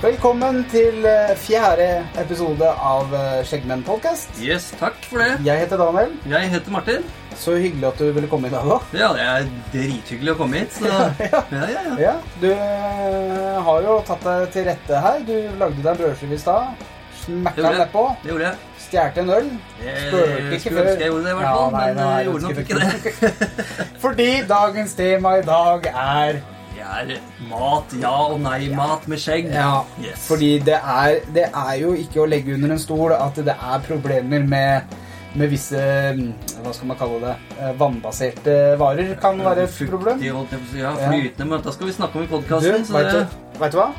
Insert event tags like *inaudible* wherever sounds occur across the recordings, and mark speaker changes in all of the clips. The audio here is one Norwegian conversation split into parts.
Speaker 1: Velkommen til eh, fjerde episode av eh, Skjeggmenn podcast.
Speaker 2: Yes, takk for det.
Speaker 1: Jeg heter Daniel.
Speaker 2: Jeg heter Martin.
Speaker 1: Så hyggelig at du ville komme i dag, da.
Speaker 2: Ja, det er drithyggelig å komme
Speaker 1: *laughs*
Speaker 2: hit, så Ja, ja, ja.
Speaker 1: Ja, Du eh, har jo tatt deg til rette her. Du lagde deg en brødskive i stad.
Speaker 2: Det
Speaker 1: Smakka
Speaker 2: gjorde jeg.
Speaker 1: nedpå.
Speaker 2: Det gjorde jeg.
Speaker 1: Stjal en øl.
Speaker 2: Jeg
Speaker 1: Spurte ikke
Speaker 2: skulle
Speaker 1: før.
Speaker 2: ønske jeg gjorde det, i hvert
Speaker 1: Ja,
Speaker 2: fall,
Speaker 1: nei,
Speaker 2: men
Speaker 1: nei,
Speaker 2: jeg
Speaker 1: jeg
Speaker 2: gjorde nok
Speaker 1: ønsker
Speaker 2: ikke det.
Speaker 1: *laughs* Fordi dagens tema i dag er
Speaker 2: Det er mat, ja og nei-mat med skjegg.
Speaker 1: Ja,
Speaker 2: Yes.
Speaker 1: fordi det er, det er jo ikke å legge under en stol at det er problemer med, med visse mm, Hva skal man kalle det? eh, Vannbaserte varer kan være et problem.
Speaker 2: Fuktig, holdt jeg på å si. Ja,
Speaker 1: Ja.
Speaker 2: flytende, men dette skal vi snakke om i
Speaker 1: Du,
Speaker 2: podkasten, så
Speaker 1: vet
Speaker 2: det
Speaker 1: du, vet du hva?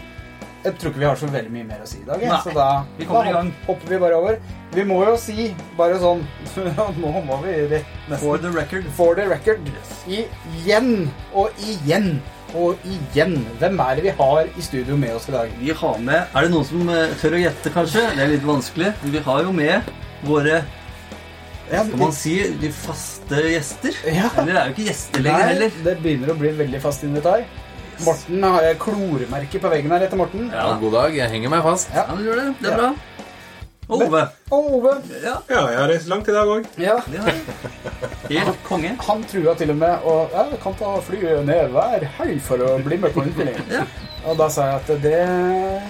Speaker 1: Jeg tror ikke vi har så veldig mye mer å si i dag. jeg,
Speaker 2: Nei,
Speaker 1: Så da,
Speaker 2: vi kommer i
Speaker 1: da
Speaker 2: gang.
Speaker 1: hopper vi bare over. Vi må jo si bare sånn *laughs* Nå må vi rett
Speaker 2: For
Speaker 1: nesten
Speaker 2: the record.
Speaker 1: For the record.
Speaker 2: Yes.
Speaker 1: Igjen og igjen og igjen. Hvem er det vi har i studio med oss i dag?
Speaker 2: Vi har med Er det noen som eh, tør å gjette, kanskje? Det er litt vanskelig. men Vi har jo med våre
Speaker 1: Ja,
Speaker 2: Skal man si de faste gjester?
Speaker 1: Ja.
Speaker 2: Eller det er jo ikke gjester lenger heller.
Speaker 1: det begynner å bli veldig fast invitar. Morten har jeg kloremerke på veggen her etter Morten.
Speaker 2: Ja.
Speaker 3: Ja, god dag. Jeg henger meg fast.
Speaker 2: Ja, men gjør det. Det er
Speaker 1: Ja.
Speaker 2: bra. Og Ove.
Speaker 1: Og Ove.
Speaker 2: Ja,
Speaker 4: Ja, jeg har reist langt i dag òg.
Speaker 3: Eh,
Speaker 1: Ja.
Speaker 2: det har jeg. Helt konge.
Speaker 1: Han trua til og med å ja, jeg kan ta flyet ned hver helg for å bli med på innspilling.
Speaker 2: *laughs* Ja.
Speaker 1: Og da sa jeg at det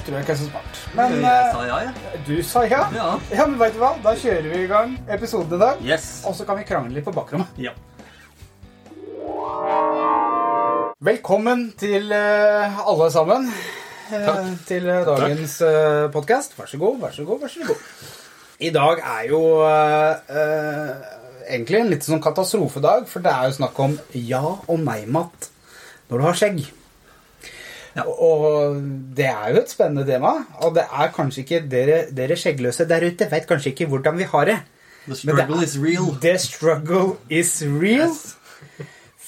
Speaker 1: tror jeg ikke er så smart. Men
Speaker 2: jeg sa ja, jeg.
Speaker 1: eh, du sa ja.
Speaker 2: Ja.
Speaker 1: Ja, men veit du hva? Da kjører vi i gang episoden i dag.
Speaker 2: Yes.
Speaker 1: Og så kan vi krangle litt på bakrommet.
Speaker 2: Ja.
Speaker 1: Velkommen til eh, alle sammen. eh, Til eh, dagens uh, podkast. Vær så god, vær så god, vær så god. I dag er jo eh, eh, egentlig en litt sånn katastrofedag, for det er jo snakk om ja- og nei-mat når du har skjegg.
Speaker 2: Ja.
Speaker 1: Og det er jo et spennende tema, og det er kanskje ikke dere, dere skjeggløse der ute vet kanskje ikke hvordan vi har det.
Speaker 2: The
Speaker 1: Men det
Speaker 2: struggle is real.
Speaker 1: The struggle is real.
Speaker 2: Yes.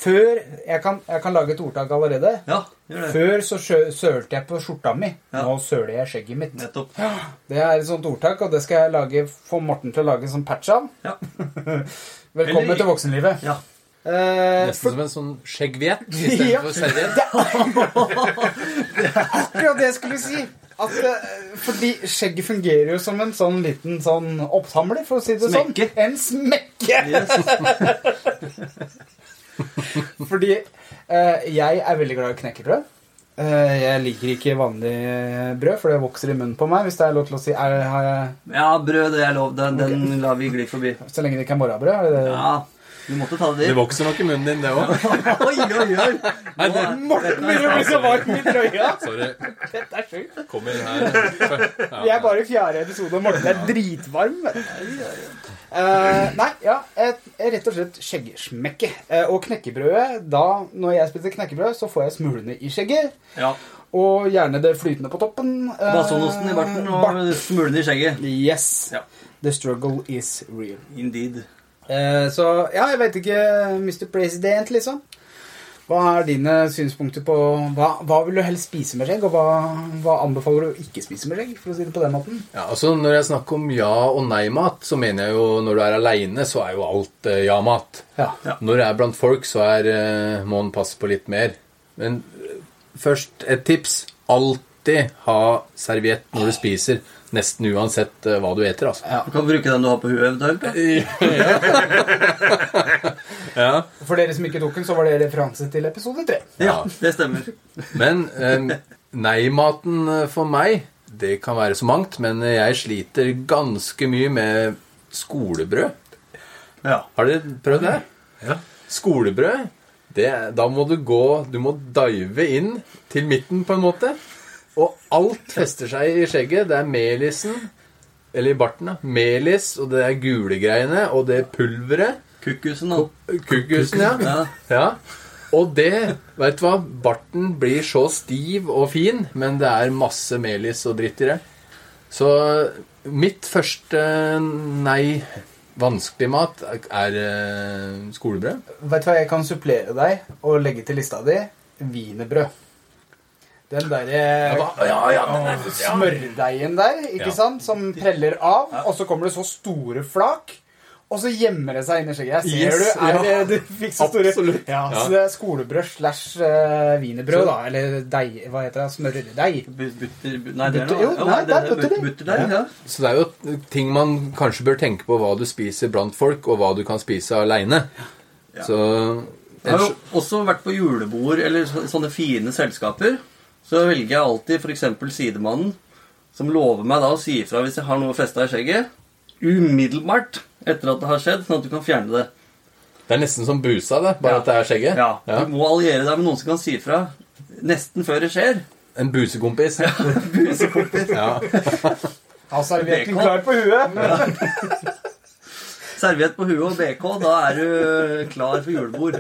Speaker 1: Før jeg kan, jeg kan lage et ordtak allerede.
Speaker 2: Ja, gjør det.
Speaker 1: Før så sjø- sølte jeg på skjorta mi.
Speaker 2: Ja.
Speaker 1: Nå søler jeg skjegget mitt.
Speaker 2: Nettopp.
Speaker 1: Det er et sånt ordtak, og det skal jeg lage, få Morten til å lage en sånn patch av. *laughs*
Speaker 2: Ja.
Speaker 1: Velkommen
Speaker 2: Eller-
Speaker 1: til voksenlivet.
Speaker 2: ja.
Speaker 1: Eh,
Speaker 3: Nesten som en sånn skjeggviett
Speaker 1: Ja.
Speaker 3: istedenfor serviett.
Speaker 1: Det akkurat det jeg skulle si. At, eh, fordi skjegget fungerer jo som en sånn liten sånn oppsamler, for å si det
Speaker 2: Smekke.
Speaker 1: sånn. En smekke!
Speaker 2: Yes.
Speaker 1: *laughs* Fordi eh, jeg er veldig glad i knekkebrød. Eh, jeg liker ikke vanlig eh, brød, for det vokser i munnen på meg. Hvis det er lov til å si er, har jeg,
Speaker 2: ja, brød, det er lov. Den, den lar vi gli forbi.
Speaker 1: Så lenge det ikke er morrabrød. Er det det?
Speaker 2: Ja, du måtte ta det
Speaker 3: *laughs* Det
Speaker 2: dit.
Speaker 3: vokser nok i munnen din, det òg.
Speaker 2: *laughs* Oi, oi, oi.
Speaker 3: Nei, det
Speaker 1: Morten begynner å bli så varm i trøya!
Speaker 3: Sorry.
Speaker 1: Dette er sjukt.
Speaker 3: Kom inn her.
Speaker 1: Vi er bare i fjerde episode, og Morten er dritvarm. Eh, nei, ja. Et, et rett og slett skjeggsmekke. Eh, og knekkebrødet da, Når jeg spiser knekkebrød, så får jeg smulene i skjegget.
Speaker 2: Ja.
Speaker 1: Og gjerne det flytende på toppen. Eh,
Speaker 2: Basonosten i barten
Speaker 1: bart.
Speaker 2: og smulene i skjegget.
Speaker 1: Yes.
Speaker 2: Ja.
Speaker 1: The struggle is real.
Speaker 2: Indeed.
Speaker 1: Eh, så ja, jeg veit ikke, Mr. President, liksom. Hva er dine synspunkter på Hva, hva vil du helst spise med skjegg, og hva, hva anbefaler du å ikke spise med skjegg? For å si det på den måten.
Speaker 3: Ja, altså Når jeg snakker om ja- og nei-mat, så mener jeg jo når du er aleine, så er jo alt eh, ja-mat.
Speaker 1: Ja.
Speaker 2: Ja.
Speaker 3: Når jeg er blant folk, så er, eh, må en passe på litt mer. Men eh, først et tips. Alltid ha serviett når du spiser. Nesten uansett eh, hva du eter, altså.
Speaker 2: Du kan bruke den du har på huet, eventuelt. da.
Speaker 3: *laughs* ja.
Speaker 1: For dere som ikke tok den, så var det referanse til episode tre.
Speaker 2: Ja, det stemmer.
Speaker 3: Men eh, nei-maten eh, for meg, det kan være så mangt, men eh, jeg sliter ganske mye med skolebrød.
Speaker 2: Ja.
Speaker 3: Har dere prøvd det?
Speaker 4: Ja.
Speaker 3: Skolebrød, det, er- da må du gå Du må dive inn til midten, på en måte. Og alt fester seg i skjegget. Det er melisen, eller i barten, da. Melis, og det er gule greiene, og det pulveret.
Speaker 2: Kukkusen, da.
Speaker 3: Kukkusen, ja.
Speaker 2: Ja.
Speaker 3: ja. Og det, vet du hva, barten blir så stiv og fin, men det er masse melis og dritt i det. Så mitt første nei vanskelig mat er eh, skolebrød.
Speaker 1: Vet du hva, jeg kan supplere deg og legge til lista di wienerbrød. Den derre
Speaker 3: Ja, ja,
Speaker 1: smørdeigen der, ikke
Speaker 3: Ja.
Speaker 1: sant, som preller av, og så kommer det så store flak. Og så gjemmer det seg inni skjegget. Jeg ser
Speaker 3: Yes,
Speaker 1: du, er
Speaker 3: ja.
Speaker 1: det, du fikk så store
Speaker 3: Absolutt.
Speaker 1: Ja,
Speaker 3: Ja.
Speaker 1: Så det er skolebrød slash eh, wienerbrød, da. Eller deig, hva heter det? Smørdeig.
Speaker 2: Bu- Butter, bu- nei, det er
Speaker 1: Butter-
Speaker 2: noe
Speaker 1: jo, nei, det er
Speaker 2: but-
Speaker 1: butterdeig.
Speaker 2: butterdeig, ja.
Speaker 3: Så det er jo ting man kanskje bør tenke på hva du spiser blant folk, og hva du kan spise aleine. Så
Speaker 2: Jeg har jo også vært på julebord eller så- sånne fine selskaper. Så velger jeg alltid f.eks. sidemannen, som lover meg da å si ifra hvis jeg har noe festa i skjegget. Umiddelbart etter at det har skjedd, sånn at du kan fjerne det.
Speaker 3: Det er nesten som busa, det, bare
Speaker 2: Ja.
Speaker 3: at det er skjegget.
Speaker 2: Ja,
Speaker 3: Ja.
Speaker 2: Du må alliere deg med noen som kan si ifra nesten før det skjer.
Speaker 3: En *laughs* busekompis.
Speaker 2: Busekompis.
Speaker 3: Ja.
Speaker 1: Ha servietten
Speaker 2: Bacon.
Speaker 1: klar på huet.
Speaker 2: Serviett på huet og BK, da er du klar for julebord.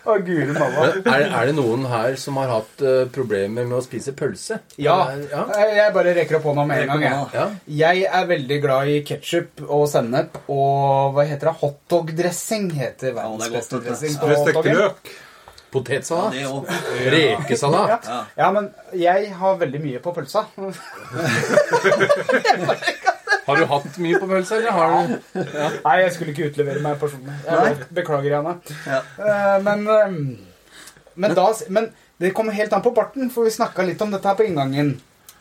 Speaker 1: Å, guri malla.
Speaker 3: Men er, er det noen her som har hatt eh, problemer med å spise pølse?
Speaker 1: Ja. Eh,
Speaker 3: Eller- ja.
Speaker 1: Jeg bare rekker opp hånda med en gang. Jeg.
Speaker 3: ja.
Speaker 1: Jeg er veldig glad i ketsjup og sennep og hva heter det? Hotdogdressing heter verdens
Speaker 2: Ja, det er godt,
Speaker 1: beste
Speaker 2: det.
Speaker 1: dressing på
Speaker 4: Restekte
Speaker 1: hotdoggen.
Speaker 4: løk.
Speaker 3: Potetsalat.
Speaker 2: Det òg.
Speaker 3: Rekesalat.
Speaker 1: Ja.
Speaker 2: Ja.
Speaker 1: ja, men jeg har veldig mye på pølsa. *laughs*
Speaker 3: Har du hatt mye på pølse, eller har du
Speaker 1: Nei, jeg skulle ikke utlevere meg personlig. Jeg beklager, Janne.
Speaker 2: Ja.
Speaker 1: Eh, Men, eh, men, da, men det kommer helt an på barten, for vi snakka litt om dette her på inngangen.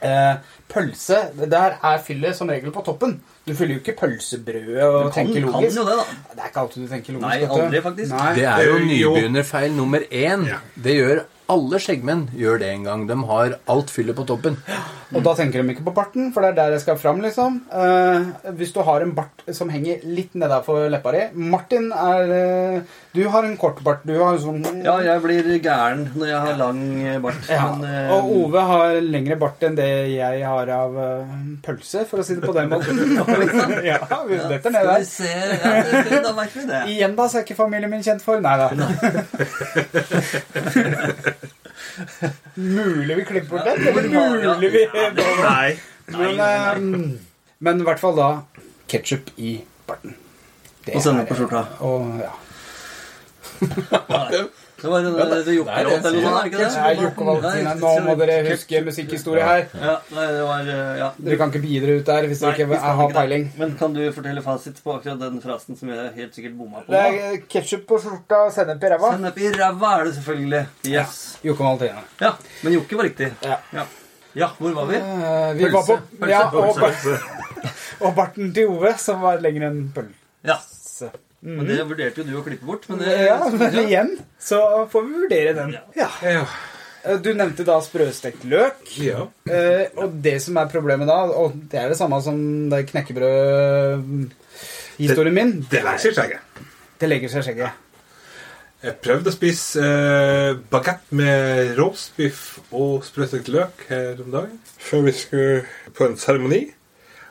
Speaker 1: Eh, Pølse, der er fyllet som regel på toppen. Du fyller jo ikke pølsebrødet og
Speaker 2: Du kan,
Speaker 1: tenker
Speaker 2: kan
Speaker 1: logisk.
Speaker 2: jo det, da.
Speaker 1: Det er ikke alltid du tenker logisk.
Speaker 2: Nei,
Speaker 1: vet du.
Speaker 2: aldri, faktisk.
Speaker 1: Nei.
Speaker 3: Det er jo
Speaker 4: Jo.
Speaker 3: nybegynnerfeil nummer én.
Speaker 4: Ja.
Speaker 3: Det gjør alle skjeggmenn gjør det en gang. De har alt fyllet på toppen.
Speaker 1: Og da tenker de ikke på barten, for det er der jeg skal fram, liksom. Eh, hvis du har en bart som henger litt nedafor leppa di Martin er eh, Du har en kort bart. Du har en sånn
Speaker 2: Ja, jeg blir gæren når jeg har lang eh, bart.
Speaker 1: Ja,
Speaker 2: Men, eh,
Speaker 1: og Ove har lengre bart enn det jeg har av eh, pølse, for å si det på den
Speaker 2: *laughs*
Speaker 1: måten. *laughs* ja, vi detter ned
Speaker 2: Skal vi
Speaker 1: der.
Speaker 2: se ja, det- det- Da merker vi det.
Speaker 1: Igjen, da, så er ikke familien min kjent for. Nei da. Mulig vi klipper bort den. Eller mulig vi
Speaker 4: Nei.
Speaker 1: Men, eh, men i hvert fall da ketsjup i barten. Det
Speaker 2: Og sennep
Speaker 1: er-
Speaker 2: på skjorta.
Speaker 1: Og, ja.
Speaker 2: Det var en eh, det, det
Speaker 3: det er det jeg
Speaker 2: jokkeråd eller noe sånt, er det ikke det?
Speaker 1: Det er Jokke Valentina. Nå må dere huske musikkhistorie her.
Speaker 2: Ja, nei, det var eh, ja.
Speaker 1: Dere kan ikke bidra ut der hvis
Speaker 2: Nei,
Speaker 1: dere ikke
Speaker 2: vi skal
Speaker 1: har
Speaker 2: ikke det.
Speaker 1: peiling.
Speaker 2: Men kan du fortelle fasit på akkurat den frasen som jeg helt sikkert bomma på?
Speaker 1: Det er ketsjup på skjorta og sennep i ræva.
Speaker 2: Sennep i ræva er det selvfølgelig. Yes.
Speaker 1: Jokke Valentina.
Speaker 2: Ja, men jokke var riktig.
Speaker 1: Ja.
Speaker 2: Ja. ja, hvor var vi?
Speaker 1: Eh, Vi var på
Speaker 2: Pølse.
Speaker 1: ja, og, *laughs* og barten til Ove, som var lenger enn pølse.
Speaker 2: Ja, men Det vurderte jo du å klippe bort, men eh, det
Speaker 1: Mm. Ja, men igjen så får vi vurdere den. Ja.
Speaker 4: Ja.
Speaker 1: Eh, Du nevnte da sprøstekt løk.
Speaker 4: Ja.
Speaker 1: Eh, og det som er problemet da, og det er det samme som det knekkebrødhistorien min,
Speaker 4: Det legger seg i skjegget.
Speaker 1: det legger seg i skjegget.
Speaker 4: Jeg prøvde å spise eh, bagett med roastbiff og sprøstekt løk her om dagen. Før vi skulle på en seremoni.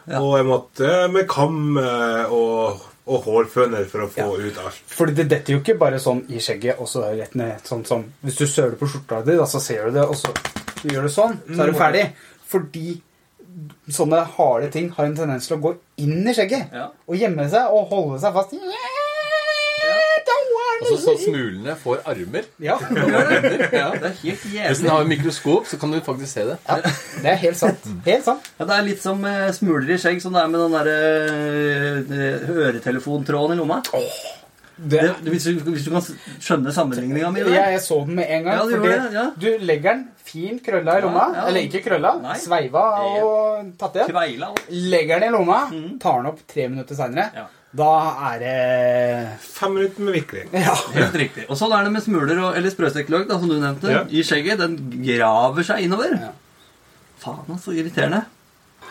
Speaker 2: Ja.
Speaker 4: Og jeg måtte med kam eh, og, og hårføner for å få ut alt.
Speaker 1: Fordi det detter jo ikke bare sånn i skjegget og så rett ned. sånn som, Hvis du søler på skjorta di, da, så ser du det, og så du gjør du sånn, så er du ferdig. Fordi sånne harde ting har en tendens til å gå inn i skjegget.
Speaker 2: Ja.
Speaker 1: Og gjemme seg og holde seg fast. Don't
Speaker 3: Altså
Speaker 1: worry.
Speaker 3: så smulene får armer.
Speaker 1: Ja,
Speaker 3: Ja.
Speaker 2: Det er helt
Speaker 3: Hvis
Speaker 2: jævlig.
Speaker 3: den har mikroskop, så kan du faktisk se det.
Speaker 1: ja, det er helt sant. Helt sant.
Speaker 2: Ja, Det er litt som eh, smuler i skjegg, som det er med den derre eh, øretelefontråden i lomma.
Speaker 1: Det,
Speaker 2: Det, det, hvis, du, hvis du kan skjønne sammenligninga mi
Speaker 1: jeg,
Speaker 2: der.
Speaker 1: jeg så den med en gang.
Speaker 2: Ja, du
Speaker 1: fordi
Speaker 2: gjorde det, ja.
Speaker 1: Du legger den fint krølla i lomma.
Speaker 2: Ja, ja.
Speaker 1: Eller ikke krølla,
Speaker 2: Nei.
Speaker 1: sveiva og tatt igjen.
Speaker 2: Kveila altså. og
Speaker 1: Legger den i lomma, tar den opp tre minutter seinere.
Speaker 2: Mhm. Ja.
Speaker 1: Da er det
Speaker 4: Fem minutter med vikling.
Speaker 1: Ja. *laughs*
Speaker 2: Helt riktig. Og sånn er det med smuler og, eller sprøstekt løk, da, som du nevnte.
Speaker 4: Ja.
Speaker 2: I skjegget. Den graver seg innover.
Speaker 1: Ja.
Speaker 2: Faen, altså. Irriterende.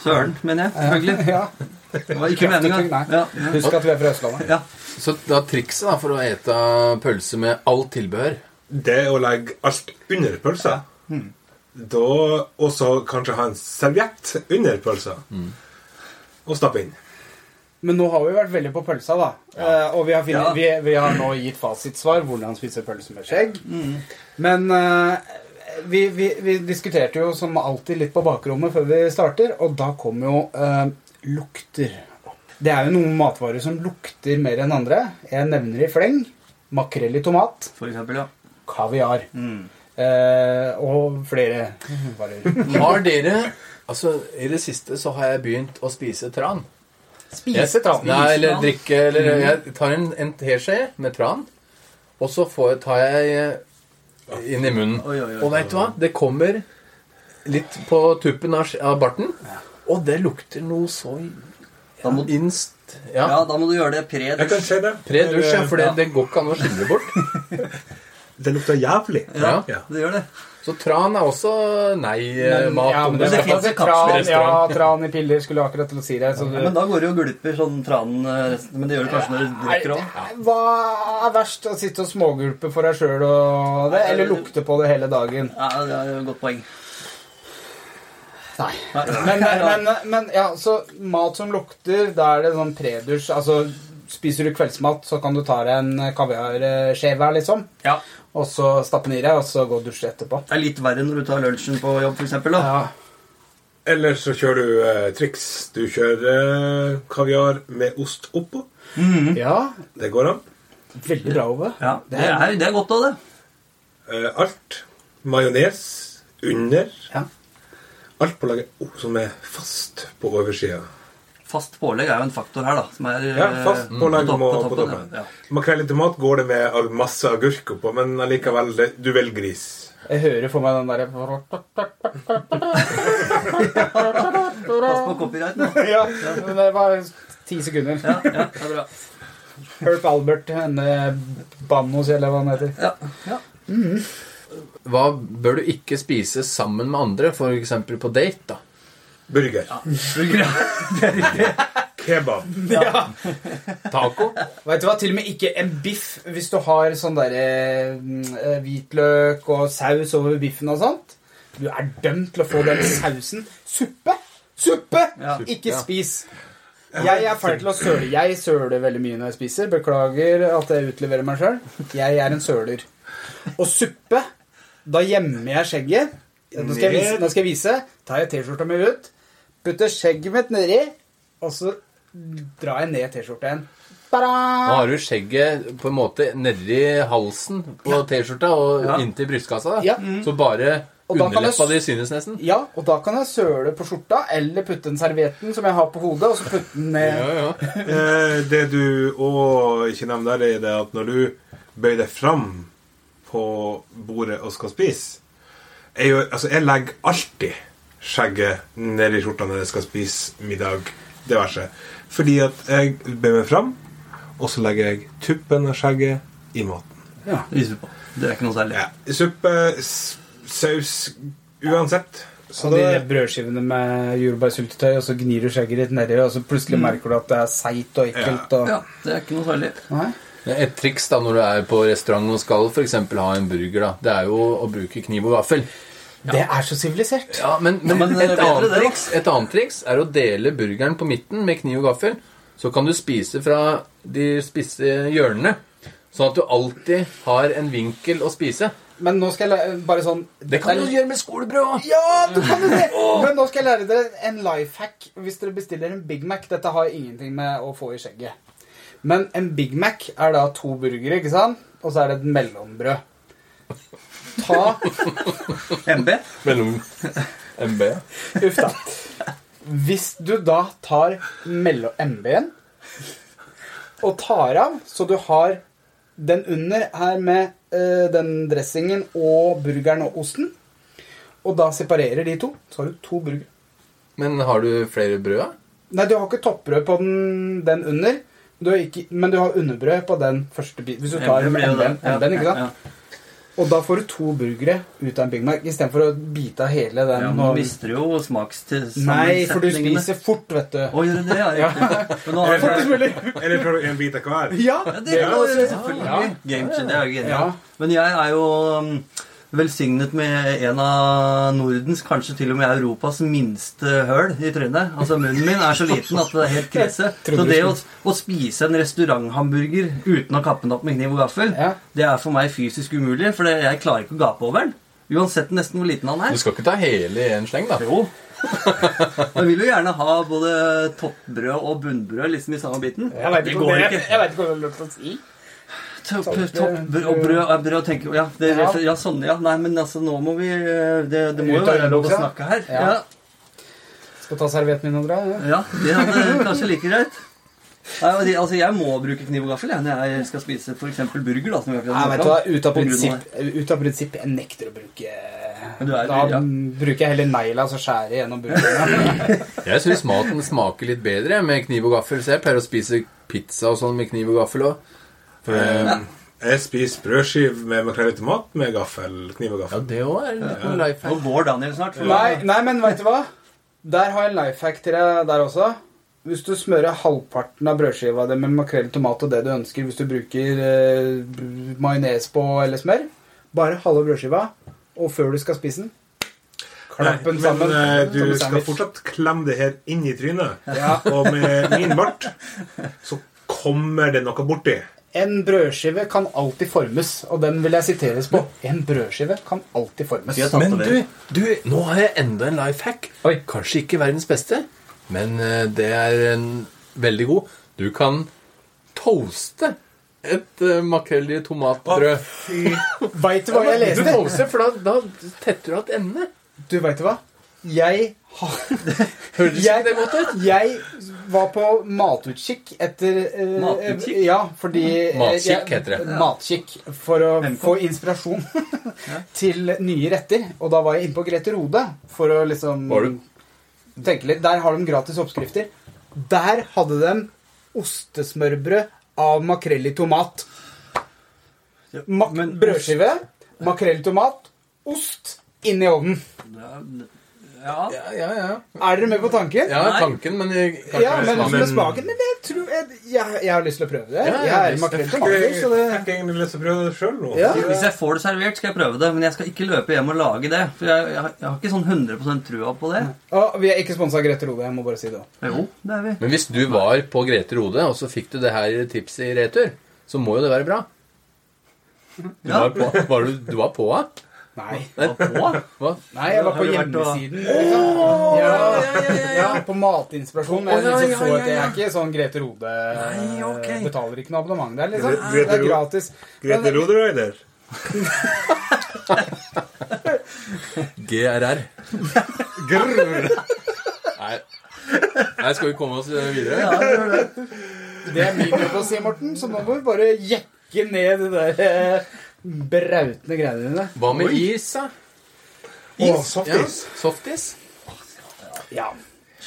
Speaker 2: Søren, mener jeg. Selvfølgelig.
Speaker 1: ja.
Speaker 2: Det var ikke meninga.
Speaker 1: Nei.
Speaker 2: Ja.
Speaker 1: Husk at vi er fra Østlandet.
Speaker 2: Ja.
Speaker 3: Så da trikset da, for å ete pølse med alt tilbehør
Speaker 4: Det å legge alt under pølsa. Da også kanskje ha en serviett under pølsa. Og stappe inn.
Speaker 1: Men nå har vi vært veldig på pølsa, da. Eh, og vi har, finnet,
Speaker 2: Ja.
Speaker 1: vi, vi har nå gitt fasitsvar hvordan spise pølse med skjegg.
Speaker 2: Mm.
Speaker 1: Men eh, vi, vi, vi diskuterte jo som alltid litt på bakrommet før vi starter, og da kom jo eh, lukter opp. Det er jo noen matvarer som lukter mer enn andre. Jeg nevner i fleng makrell i tomat,
Speaker 2: For eksempel, ja.
Speaker 1: kaviar. Eh, og flere varer.
Speaker 3: Har dere Altså, i det siste så har jeg begynt å spise tran.
Speaker 1: Spise tran.
Speaker 3: Nei, eller drikke eller
Speaker 2: Mm.
Speaker 3: Jeg tar en, en teskje med tran, og så får, tar jeg eh, inn i munnen.
Speaker 2: Oi, oi, oi.
Speaker 3: Og veit du hva? Det kommer litt på tuppen av, sk- av barten, og det lukter noe så
Speaker 2: Da må,
Speaker 3: inst...
Speaker 2: ja,
Speaker 3: Ja.
Speaker 2: da må du gjøre det
Speaker 4: Jeg kan
Speaker 2: pre-dusj.
Speaker 4: se det.
Speaker 3: Pre-dusj, ja, for det,
Speaker 2: Ja.
Speaker 3: det går ikke an å skille bort.
Speaker 4: Det lukter jævlig.
Speaker 3: Ja.
Speaker 4: Ja.
Speaker 2: Du gjør det.
Speaker 3: Så tran er også eh, nei-mat.
Speaker 1: Ja, men det,
Speaker 2: eh, det finnes
Speaker 1: altså,
Speaker 2: en
Speaker 1: tran,
Speaker 2: kapselrestaurant.
Speaker 1: ja, tran i piller skulle jeg akkurat til å si det. Så du,
Speaker 2: Ja, men da går det jo og gulper sånn tranen eh, resten Men det gjør det kanskje når du drikker òg.
Speaker 1: Er- Hva er verst? Å sitte og smågulpe for deg sjøl og det, eller lukte på det hele dagen?
Speaker 2: Ja, det er jo et godt poeng.
Speaker 1: Nei.
Speaker 2: Nei.
Speaker 1: Men, men, men ja, så mat som lukter, da er det sånn predusj. Altså, spiser du kveldsmat, så kan du ta deg en kaviarskje hver, liksom.
Speaker 2: Ja,
Speaker 1: Og så stappe den i deg, og så gå og dusje etterpå.
Speaker 2: Det er litt verre når du tar lunsjen på jobb, for eksempel, da.
Speaker 1: Ja.
Speaker 4: Eller så kjører du eh, triks. Du kjører eh, kaviar med ost oppå.
Speaker 1: ja.
Speaker 4: Det går an.
Speaker 1: Veldig bra, Ove.
Speaker 2: Ja, det er, det er godt av det.
Speaker 4: Eh, alt. Majones under.
Speaker 1: Ja.
Speaker 4: Alt på laget oh, som er fast på oversida.
Speaker 2: Fast pålegg er jo en faktor her, da. Som er eh,
Speaker 4: Ja, fast pålegg
Speaker 2: topp-
Speaker 4: må
Speaker 2: på
Speaker 4: på
Speaker 2: toppen,
Speaker 4: toppen.
Speaker 2: ja.
Speaker 4: Makrell i tomat går det med all- masse agurk oppå, men allikevel det, Du velger gris.
Speaker 1: Jeg hører for meg den derre
Speaker 2: Pass på copyrighten. da.
Speaker 1: Ja, men det var ti sekunder.
Speaker 2: Ja, ja, det er bra.
Speaker 1: Herp Albert, henne Bannos, eller hva han heter.
Speaker 2: Ja, ja.
Speaker 3: Hva bør du ikke spise sammen med andre, f.eks. på date? da?
Speaker 4: Burger.
Speaker 2: Burger, ja.
Speaker 4: Kebab.
Speaker 3: Taco?
Speaker 1: Vet du hva, til og med ikke en biff hvis du har sånn der eh, hvitløk og saus over biffen og sånt. Du er dømt til å få den sausen. Suppe! Suppe!
Speaker 2: Ja.
Speaker 1: Ikke
Speaker 3: Ja.
Speaker 1: spis. Jeg er ferdig til å søle. Jeg søler veldig mye når jeg spiser. Beklager at jeg utleverer meg sjøl. Jeg er en søler. Og suppe Da gjemmer jeg skjegget. Nå skal jeg vise. Nå skal jeg vise. Tar jeg T-skjorta mi ut, putter skjegget mitt nedi, og så drar jeg ned T-skjorta igjen.
Speaker 3: Nå
Speaker 1: Ta-da!
Speaker 3: har du skjegget på en måte nedi halsen på T-skjorta og
Speaker 2: Ja.
Speaker 3: inntil brystkassa. da.
Speaker 1: Ja.
Speaker 3: Så bare
Speaker 1: Og da kan jeg s-
Speaker 3: underleppa di synes nesten.
Speaker 1: Ja, og da kan jeg søle på skjorta, eller putte den servietten som jeg har på hodet, og så putte den ned.
Speaker 3: Ja, ja.
Speaker 4: Eh, det du òg ikke nevner, der, er det at når du bøyer deg fram på bordet og skal spise Jeg, gjør, altså, jeg legger alltid skjegget ned i skjorta når jeg skal spise middag. Diverse. Fordi at jeg bøyer meg fram, og så legger jeg tuppen av skjegget i maten.
Speaker 2: Det viser vi på. Det er ikke noe særlig.
Speaker 4: Ja. Suppe, s- saus Uansett.
Speaker 1: Så
Speaker 4: Så
Speaker 1: de
Speaker 4: da
Speaker 1: der brødskivene med jordbærsyltetøy, og så gnir du skjegget ditt nedi, og så plutselig merker du at det er seigt og ekkelt. Og...
Speaker 2: Ja, det er ikke noe særlig.
Speaker 1: Nei?
Speaker 3: Et triks da når du er på restaurant og skal for eksempel ha en burger, da, det er jo å bruke kniv og gaffel.
Speaker 1: Det er så sivilisert.
Speaker 3: Ja, men, men,
Speaker 2: men det er
Speaker 3: et,
Speaker 2: bedre
Speaker 3: annet
Speaker 2: det, da.
Speaker 3: triks, et annet triks er å dele burgeren på midten med kniv og gaffel. Så kan du spise fra de spisse hjørnene, sånn at du alltid har en vinkel å spise.
Speaker 1: Men nå skal jeg læ- bare sånn
Speaker 3: Det kan
Speaker 1: er-
Speaker 3: du gjøre med skolebrød òg.
Speaker 1: Ja, du kan jo det! Men nå skal jeg lære dere en life hack hvis dere bestiller en Big Mac. Dette har ingenting med å få i skjegget. Men en Big Mac er da to burgere, ikke sant? Og så er det et mellombrød. Ta
Speaker 2: MB.
Speaker 3: Mellom MB.
Speaker 1: Uff da. Hvis du da tar mellom MB-en og tar av, så du har den under her med eh, den dressingen og burgeren og osten, og da separerer de to, så har du to burgere.
Speaker 3: Men har du flere brød? da?
Speaker 1: Nei, du har ikke toppbrød på den, den under, men du, har ikke, men du har underbrød på den første biten. Hvis du tar en
Speaker 2: MB blir jo det.
Speaker 1: MB-en,
Speaker 2: Ja,
Speaker 1: MB-en, ikke
Speaker 2: ja,
Speaker 1: sant? Og da får du to burgere ut av en Big Mac istedenfor å bite av hele
Speaker 2: Ja,
Speaker 1: den.
Speaker 2: men Nå
Speaker 1: og-
Speaker 2: mister du jo smakstilsammensetningene.
Speaker 1: Nei, for du spiser fort, vet du.
Speaker 2: Å, gjør du det? Ja, riktig. Men nå har du
Speaker 1: Fortest mulig.
Speaker 4: Eller tar du en bit av hver?
Speaker 1: *laughs* Ja,
Speaker 2: Ja, det er jo
Speaker 1: også-
Speaker 2: selvfølgelig. Game changer, det er jo
Speaker 1: Ja.
Speaker 2: genialt. Men jeg er jo um, velsignet med en av Nordens, kanskje til og med Europas, minste høl i trynet. Altså munnen min er så liten at det er helt krise.
Speaker 1: trodde
Speaker 2: Så
Speaker 1: du
Speaker 2: det å, å spise en restauranthamburger uten å kappe den opp med kniv og gaffel,
Speaker 1: Ja.
Speaker 2: det er for meg fysisk umulig, for det- jeg klarer ikke å gape over den. Uansett nesten hvor liten han er.
Speaker 3: Du skal ikke ta hele i en sleng, da.
Speaker 2: Jo. *laughs* Jeg vil jo gjerne ha både toppbrød og bunnbrød liksom i samme biten.
Speaker 1: Jeg veit
Speaker 2: Det
Speaker 1: ikke, om
Speaker 2: går
Speaker 1: det-
Speaker 2: ikke.
Speaker 1: jeg vet ikke om Sånn, det er lov til å si.
Speaker 2: topp,
Speaker 1: Salte-
Speaker 2: topp, brød, og brød, ja, brød tenker, ja, det,
Speaker 1: Ja.
Speaker 2: ja, sånn, ja. Nei, men altså, nå må vi eh, Det, det må jo
Speaker 1: Ut av
Speaker 2: være lov å
Speaker 1: innboksen.
Speaker 2: snakke her.
Speaker 1: Ja.
Speaker 2: Ja,
Speaker 1: Skal ta servietten min og dra? Ja.
Speaker 2: ja det er kanskje like greit. Nei, og de- altså, Jeg må bruke kniv og gaffel jeg, når jeg skal spise f.eks. burger. da, som vi akkurat
Speaker 1: Nei, vet
Speaker 2: snakket
Speaker 1: du hva,
Speaker 2: om.
Speaker 1: ut av
Speaker 2: På grunn av
Speaker 1: prinsipp, ut av prinsipp jeg nekter å bruke
Speaker 2: Men du er-
Speaker 1: Da
Speaker 2: ja.
Speaker 1: bruker jeg heller negla, så skjærer jeg gjennom burgeren.
Speaker 3: Jeg syns maten smaker litt bedre med kniv og gaffel, så jeg pleier å spise pizza og sånn med kniv og gaffel òg.
Speaker 4: Eh, Jeg spiser brødskive med makrell i tomat med gaffel, kniv og
Speaker 3: Ja,
Speaker 4: gaffel.
Speaker 3: det òg er en liten life
Speaker 2: Nå går Daniel snart. for-
Speaker 1: nei, nei, men vet du hva? Der har jeg en life hack til deg der også. Hvis du smører halvparten av brødskiva di med makrell, tomat og det du ønsker, hvis du bruker eh, br- majones på eller smør, bare halve brødskiva, og før du skal spise den Klapp den
Speaker 4: Nei, men
Speaker 1: sammen.
Speaker 4: eh, du
Speaker 1: som en
Speaker 4: skal
Speaker 1: sandwich.
Speaker 4: fortsatt klemme det her inn i trynet.
Speaker 1: Ja.
Speaker 4: Og med min bart så kommer det noe borti.
Speaker 1: En brødskive kan alltid formes, og den vil jeg siteres på. En brødskive kan alltid formes.
Speaker 2: Vi har tatt
Speaker 3: Men
Speaker 2: over.
Speaker 3: du, du, nå har jeg enda en life hack.
Speaker 1: Oi.
Speaker 3: Kanskje ikke verdens beste, men eh, det er en veldig god. Du kan toaste et eh, makrell i tomatbrød.
Speaker 1: Veit du hva jeg
Speaker 3: Du
Speaker 1: leste?
Speaker 3: toaster, for da, da tetter du igjen endene.
Speaker 1: Du veit hva? Jeg
Speaker 3: *laughs*
Speaker 1: har
Speaker 3: Høres ikke det godt ut?
Speaker 1: Jeg var på matutkikk etter eh,
Speaker 2: Matutkikk?
Speaker 1: Ja, fordi eh, jeg-
Speaker 3: Matkikk heter det.
Speaker 1: Matkikk. For å
Speaker 2: MK.
Speaker 1: få inspirasjon *laughs* til nye retter. Og da var jeg inne på Grete Rode for å liksom
Speaker 3: Var du?
Speaker 1: tenke litt. Der har de gratis oppskrifter. Der hadde de ostesmørbrød av makrell i tomat.
Speaker 2: Ja,
Speaker 1: Mak
Speaker 2: men-
Speaker 1: brødskive, makrell i tomat, ost inn i ovnen.
Speaker 2: Ja,
Speaker 3: Ja, ja, ja.
Speaker 1: Er dere med på tanken?
Speaker 3: Ja,
Speaker 2: Nei.
Speaker 3: tanken, men jeg kan
Speaker 1: Ja,
Speaker 3: ikke
Speaker 1: men
Speaker 3: smake.
Speaker 1: som er
Speaker 4: men-
Speaker 1: smaken Men jeg tror jeg, jeg, jeg har lyst til å prøve det.
Speaker 3: Ja,
Speaker 1: jeg
Speaker 3: ja,
Speaker 1: er
Speaker 3: visst.
Speaker 1: makrell til
Speaker 4: Jeg
Speaker 1: vanlig, så det
Speaker 4: fikk egentlig lyst til å prøve det sjøl nå.
Speaker 1: Ja.
Speaker 2: Hvis jeg får det servert, skal jeg prøve det. Men jeg skal ikke løpe hjem og lage det. For jeg, jeg, har- jeg har ikke sånn 100 trua på det.
Speaker 1: Å, Vi er ikke sponsa av Grete Rode, jeg må bare si det.
Speaker 2: Jo, det er vi.
Speaker 3: Men hvis du var på Grete Rode, og så fikk du det her tipset i retur, så må jo det være bra. Du
Speaker 2: Ja.
Speaker 3: var på, var du, du var på, da?
Speaker 1: Nei.
Speaker 2: Hva?
Speaker 3: Hva?
Speaker 1: Nei, jeg var
Speaker 2: Har
Speaker 1: på
Speaker 2: du vært og-
Speaker 1: hjemmesiden. liksom. Ja, ja, på matinspirasjon. Men jeg
Speaker 3: Å, ja,
Speaker 1: liksom
Speaker 3: ja,
Speaker 1: så
Speaker 3: ja,
Speaker 1: at jeg er
Speaker 3: ja.
Speaker 1: ikke sånn Grete Rode eh,
Speaker 2: Nei, ok.
Speaker 1: Betaler ikke noe abonnement der, liksom.
Speaker 4: Gre- Grete
Speaker 1: Det er
Speaker 4: Rode.
Speaker 1: gratis.
Speaker 4: Grete Roderøyder.
Speaker 3: GRR. Nei. Nei, skal vi komme oss videre?
Speaker 2: Ja, det er det.
Speaker 1: Det er min jobb å si, Morten, så nå må vi bare jekke ned det der eh, brautende greiene dine.
Speaker 3: Hva med is, da?
Speaker 4: Å, softis.
Speaker 3: Softis?
Speaker 1: Ja.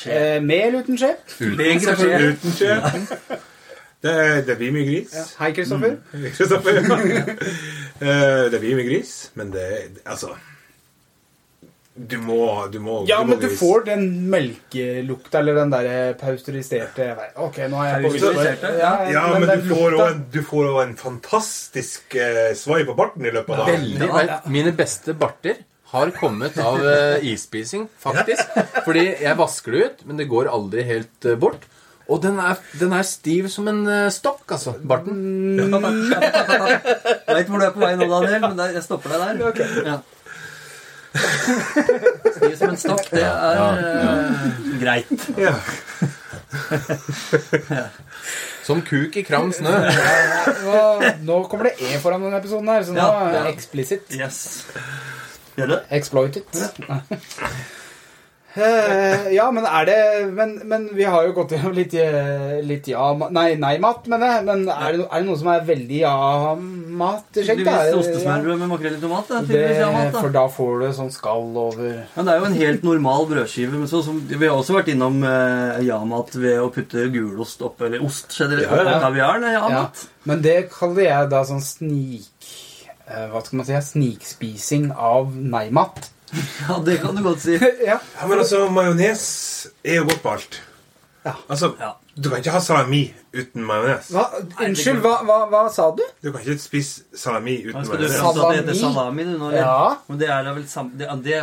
Speaker 1: Eh, med eller uten skje?
Speaker 2: Uten
Speaker 3: selvfølgelig.
Speaker 2: selvfølgelig.
Speaker 4: Uten skje. Det, det blir mye gris.
Speaker 1: Hei, Kristoffer.
Speaker 4: Kristoffer. *laughs* Eh, det blir mye gris, men det Altså Du må Du må,
Speaker 1: Ja,
Speaker 4: du må
Speaker 1: men du
Speaker 4: gris.
Speaker 1: får den melkelukta, eller den der eh, pausteriserte jeg vet- Ok, nå er jeg på
Speaker 2: Pausteriserte?
Speaker 1: Ja,
Speaker 4: Ja, men,
Speaker 1: den
Speaker 4: du får
Speaker 1: lukta-
Speaker 4: også en, du får også en fantastisk eh, svai på barten i løpet av dagen.
Speaker 3: Veldig, vet, mine beste barter har kommet av eh, isspising, faktisk. Fordi jeg vasker det ut, men det går aldri helt eh, bort. Og den er, den er stiv som en eh, stokk, altså, barten.
Speaker 2: Jeg vet hvor du er på vei nå, Daniel, men der, jeg stopper deg der. Ja. Stiv som en stokk, det er
Speaker 3: Ja,
Speaker 2: eh, greit.
Speaker 4: Ja.
Speaker 3: Som kuk i kram snø.
Speaker 1: Nå, nå kommer det E foran denne episoden her, så nå
Speaker 2: Ja,
Speaker 1: er
Speaker 2: ja.
Speaker 1: det eksplisitt.
Speaker 2: Yes. Gjør det?
Speaker 1: Exploited. Eh, ja, men er det Men, men vi har jo gått gjennom litt, eh, litt ja Nei, nei-mat, mener jeg. Men er det, no- er det noe som er veldig ja-mat? Sjekk, da.
Speaker 2: Tydeligvis ostesmørbrød med makrell i tomat. Det, er tydeligvis ja,
Speaker 1: Det,
Speaker 2: mat, da.
Speaker 1: for da får du sånn skall over
Speaker 2: Men det er jo en helt normal brødskive. Men så, som, vi har også vært innom eh, ja-mat ved å putte gulost opp, eller ost generelt,
Speaker 4: Ja, ja.
Speaker 2: oppå kaviaren. eh, er
Speaker 1: Ja,
Speaker 2: Ja-mat.
Speaker 1: men det kaller jeg da sånn snik... eh, Hva skal man si? Snikspising av nei-mat.
Speaker 2: Ja. det kan du godt si.
Speaker 1: ja.
Speaker 4: ja, men altså, majones er jo godt på alt.
Speaker 1: Ja.
Speaker 4: Altså,
Speaker 2: Ja.
Speaker 4: du kan ikke ha salami uten majones.
Speaker 1: Hva, unnskyld, hva, hva, hva sa du?
Speaker 4: Du kan ikke spise salami uten
Speaker 2: Nå skal du
Speaker 4: majones.
Speaker 2: fram til at det heter salami, du, nå? eller?
Speaker 1: Ja.
Speaker 2: Men det er da vel sam... Det, det,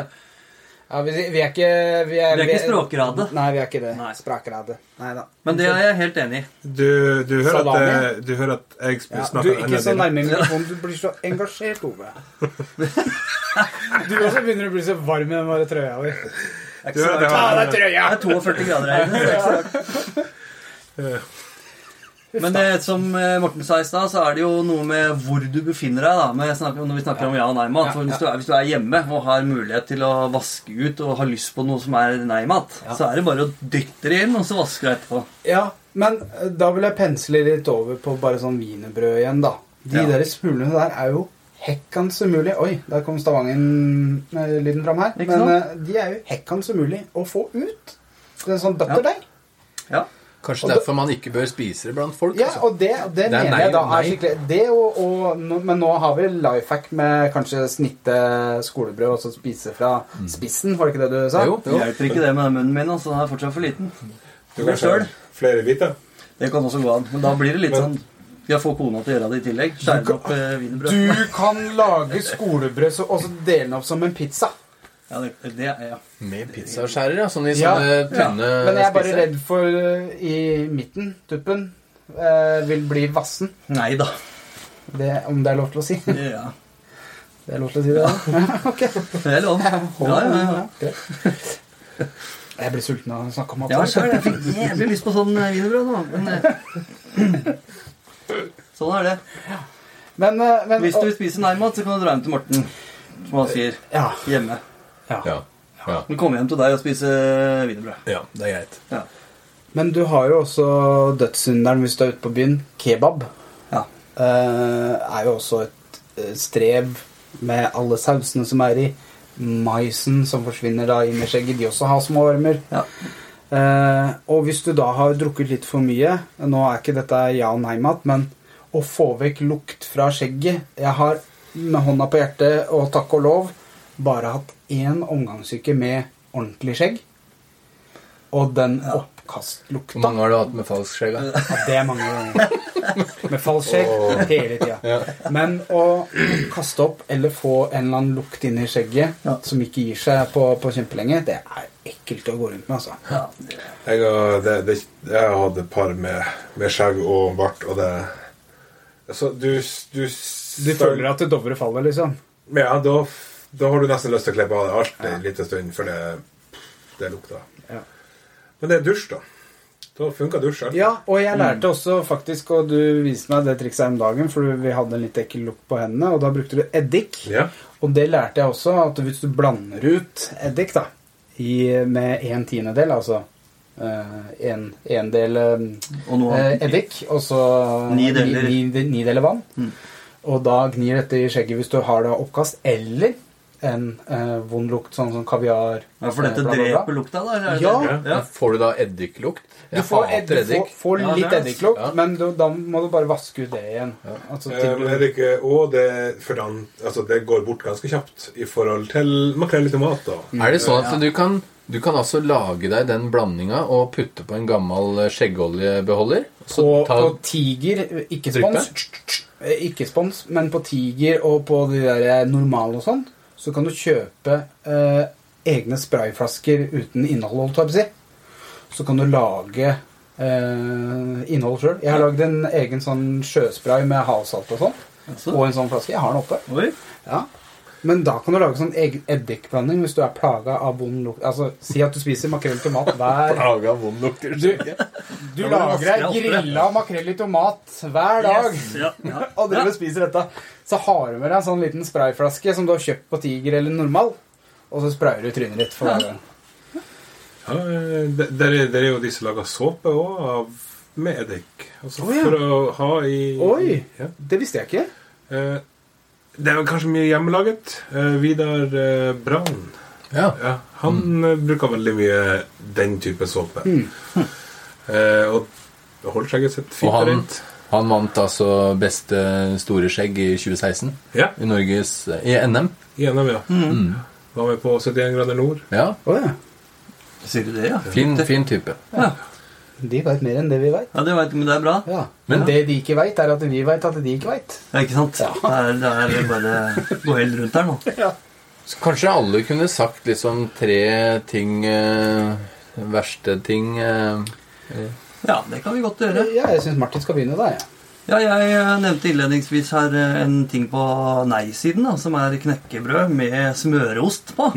Speaker 1: Ja, vi, vi er ikke Vi er,
Speaker 2: Vi er ikke språkrade.
Speaker 1: Nei, vi er ikke det.
Speaker 2: Nei.
Speaker 1: Sprakrade. Nei da.
Speaker 2: men det er jeg helt enig i.
Speaker 4: Du, du, hører at,
Speaker 1: Salami?
Speaker 4: eh, du hører at jeg sp-
Speaker 1: Ja, du,
Speaker 4: snakker
Speaker 1: ikke så
Speaker 2: *laughs*
Speaker 1: nærme mikrofonen. Du blir så engasjert, Ove. Du også begynner å bli så varm i den bare trøya di.
Speaker 2: Det er
Speaker 4: Du
Speaker 2: ikke så rart.
Speaker 4: hører at jeg
Speaker 1: Ta av
Speaker 4: har-
Speaker 1: deg trøya!
Speaker 2: Det er 42 grader her inne. så det er ikke så rart.
Speaker 4: eh,
Speaker 2: Men det, som eh, Morten sa i stad, så er det jo noe med hvor du befinner deg. da, med, snakker, Når vi snakker om ja og nei-mat. For hvis du, er, hvis du er hjemme og har mulighet til å vaske ut og har lyst på noe som er nei-mat, så er det bare å dytte det inn, og så vasker du etterpå.
Speaker 1: Ja, men eh, da vil jeg pensle litt over på bare sånn wienerbrød igjen, da. De
Speaker 2: Ja.
Speaker 1: der smulene der er jo hekkans umulig Oi, der kom Stavanger-lyden fram her.
Speaker 2: Ikke
Speaker 1: Men
Speaker 2: sant?
Speaker 1: eh, de er jo hekkans umulig å få ut. Det er sånn butterdeig.
Speaker 2: Ja.
Speaker 3: Kanskje
Speaker 1: Og da-
Speaker 3: derfor man ikke bør spise det blant folk.
Speaker 1: Ja,
Speaker 3: altså.
Speaker 1: og det, det,
Speaker 3: Det er
Speaker 1: mener
Speaker 3: nei
Speaker 1: jeg da
Speaker 3: og
Speaker 1: er
Speaker 3: nei.
Speaker 1: skikkelig det og, og, nå- Men nå har vi life hack med kanskje snitte skolebrød og så spise fra spissen, var det ikke det du sa?
Speaker 3: Jo,
Speaker 2: Det hjelper ikke det med munnen min. altså, Den er fortsatt for liten.
Speaker 4: Du
Speaker 2: Men
Speaker 4: kan
Speaker 2: selv-
Speaker 4: skjære flere biter.
Speaker 2: Det kan også gå an. Men da blir det litt
Speaker 4: Men-
Speaker 2: sånn Jeg får kona til å gjøre det i tillegg. Skjære opp eh, wienerbrød.
Speaker 1: Du kan lage skolebrød så, og så dele den opp som en pizza.
Speaker 2: Ja, det, det, ja.
Speaker 3: Med pizzaskjærer, ja. Sånn i
Speaker 1: Ja,
Speaker 2: ja.
Speaker 3: sånne tynne
Speaker 1: Men jeg er bare
Speaker 3: spisser.
Speaker 1: redd for eh, i midten, tuppen, eh, vil bli vassen.
Speaker 2: Nei da.
Speaker 1: Det, om det er lov til å si. *laughs*
Speaker 2: Ja.
Speaker 1: Det er lov til å si det, da. ok.
Speaker 2: Det er lov. Ja, ja, ja.
Speaker 1: Greit. Jeg blir sulten av å snakke om mat.
Speaker 2: Ja, sjøl. Jeg fikk jævlig lyst på sånn eh, *clears throat* wienerbrød nå. Men eh, sånn er det.
Speaker 1: Men, eh, men
Speaker 2: Hvis du vil spise nærmat, så kan du dra hjem til Morten, som han sier,
Speaker 1: ja,
Speaker 2: hjemme.
Speaker 3: Ja. Ja.
Speaker 2: Men komme hjem til deg og spise wienerbrød.
Speaker 3: ja, det er greit.
Speaker 2: Ja.
Speaker 1: Men du har jo også dødssynderen hvis du er ute på byen. Kebab
Speaker 2: ja.
Speaker 1: eh, er jo også et eh, strev med alle sausene som er i. Maisen som forsvinner da inn i skjegget, de også har små ormer.
Speaker 2: ja.
Speaker 1: Eh, og hvis du da har drukket litt for mye Nå er ikke dette ja- og nei-mat, men å få vekk lukt fra skjegget Jeg har med hånda på hjertet og takk og lov bare hatt én omgangsuke med ordentlig skjegg. Og den
Speaker 3: Hvor
Speaker 1: oppkastlukta
Speaker 3: mange har du hatt med falsk skjegg? da?
Speaker 1: ja, Det er mange ganger. Med falsk skjegg hele tida. Men å kaste opp eller få en eller annen lukt inn i skjegget
Speaker 2: Ja.
Speaker 1: som ikke gir seg på, på kjempelenge, det er ekkelt å gå rundt med, altså.
Speaker 2: ja.
Speaker 4: Jeg har, det, det, jeg har hatt et par med, med skjegg og bart, og det altså, du, du,
Speaker 1: Du føler at Dovre faller, liksom?
Speaker 4: Men Ja, da, f- da har du nesten lyst til å klippe av deg alt en liten stund, for det, det lukter.
Speaker 1: Ja.
Speaker 4: Men det er dusj, da. Da funka dusj. alt.
Speaker 1: Ja, og jeg
Speaker 2: Mm.
Speaker 1: lærte også faktisk, og du viste meg det trikset her om dagen, for vi hadde en litt ekkel lukt på hendene, og da brukte du eddik.
Speaker 4: Ja.
Speaker 1: Og det lærte jeg også, at hvis du blander ut eddik da, i, med en tiendedel, altså eh, en, en del eh,
Speaker 2: Og nå
Speaker 1: eh, eddik, og så
Speaker 2: Ni deler.
Speaker 1: ni, ni, ni deler vann,
Speaker 2: Mm.
Speaker 1: og da gnir dette i skjegget hvis du har det oppkast, eller en eh, vond lukt, sånn som kaviar.
Speaker 2: ja, For
Speaker 1: eh,
Speaker 2: dette
Speaker 1: bla, bla, bla.
Speaker 2: dreper lukta, da? eller er det
Speaker 1: Ja.
Speaker 2: det? ja.
Speaker 3: Får du da eddiklukt?
Speaker 1: Du
Speaker 3: Jeg
Speaker 1: får, ed,
Speaker 3: hater
Speaker 1: du får,
Speaker 3: eddik.
Speaker 1: får
Speaker 2: Ja, det
Speaker 1: litt
Speaker 2: er det.
Speaker 1: eddiklukt,
Speaker 3: Ja.
Speaker 1: men du, da må du bare vaske ut det igjen. Altså,
Speaker 4: Eh,
Speaker 1: til
Speaker 4: Men
Speaker 1: du,
Speaker 4: Erik, eh, og det, for den, altså, det går bort ganske kjapt i forhold til makrell i tomat. da.
Speaker 1: Mm.
Speaker 3: Er det sånn at du kan, du kan altså lage deg den blandinga og putte på en gammel eh, skjeggoljebeholder? Så
Speaker 1: og
Speaker 3: ta
Speaker 1: på tiger Ikke spons, Eh, ikke spons, men på tiger og på de der normale og sånn, så kan du kjøpe eh, egne sprayflasker uten innhold, holdt jeg på å si. Så kan du lage eh, innhold sjøl. Jeg har lagd en egen sånn sjøspray med havsalt og sånn.
Speaker 2: Altså?
Speaker 1: Og en sånn flaske. Jeg har den oppe.
Speaker 2: Oi.
Speaker 1: Ja. Men da kan du lage sånn egen eddikblanding hvis du er plaga av vond lukt. Altså, si at du spiser makrell i tomat hver
Speaker 3: Laga vond lukter skjegget.
Speaker 1: Du
Speaker 2: Ja, men
Speaker 1: lager
Speaker 2: det er
Speaker 1: deg
Speaker 2: oftere.
Speaker 1: grilla makrell i tomat hver dag
Speaker 2: Yes. Ja, ja.
Speaker 1: og driver og spiser dette. Så har du med deg en sånn liten sprayflaske som du har kjøpt på Tiger eller Normal, og så sprayer du trynet ditt for hver gang.
Speaker 4: Ja, eh, det, det, er, det er jo de som lager såpe òg, med eddik. Altså,
Speaker 1: Å, ja.
Speaker 4: For å ha i
Speaker 1: Oi!
Speaker 4: Ja.
Speaker 1: Det visste jeg ikke.
Speaker 4: Eh, Det er vel kanskje mye hjemmelaget. Eh, Vidar eh, Brann
Speaker 3: Ja.
Speaker 4: ja, Han
Speaker 1: Mm.
Speaker 4: eh, bruker veldig mye den type såpe.
Speaker 1: Hm.
Speaker 4: Eh, og holder skjegget sitt fint
Speaker 3: Og
Speaker 4: og
Speaker 3: han-
Speaker 4: rent.
Speaker 3: Han vant altså beste store skjegg i 2016
Speaker 4: Ja,
Speaker 3: i Norges I NM.
Speaker 4: i NM, ja.
Speaker 1: Mm.
Speaker 4: Var med på 71 grader nord.
Speaker 3: Ja.
Speaker 1: Oh, ja.
Speaker 2: Sier du det, ja?
Speaker 3: Fin, fin type.
Speaker 2: Ja,
Speaker 1: De veit mer enn det vi veit.
Speaker 2: ja det vet, men det er bra.
Speaker 1: Ja. Men
Speaker 3: Ja.
Speaker 1: det de ikke veit, er at vi veit at de ikke veit.
Speaker 2: Ja, ikke sant? Det er, det er bare gå helt rundt her nå.
Speaker 3: Så kanskje alle kunne sagt liksom tre ting eh, Verste ting eh,
Speaker 2: Ja, det kan vi godt gjøre.
Speaker 1: Ja, jeg syns Martin skal begynne, da. Ja.
Speaker 2: Ja, jeg eh, nevnte innledningsvis her eh,
Speaker 3: Mm.
Speaker 1: Mm-hmm.
Speaker 2: en ting på nei-siden, da, som er knekkebrød med smøreost på.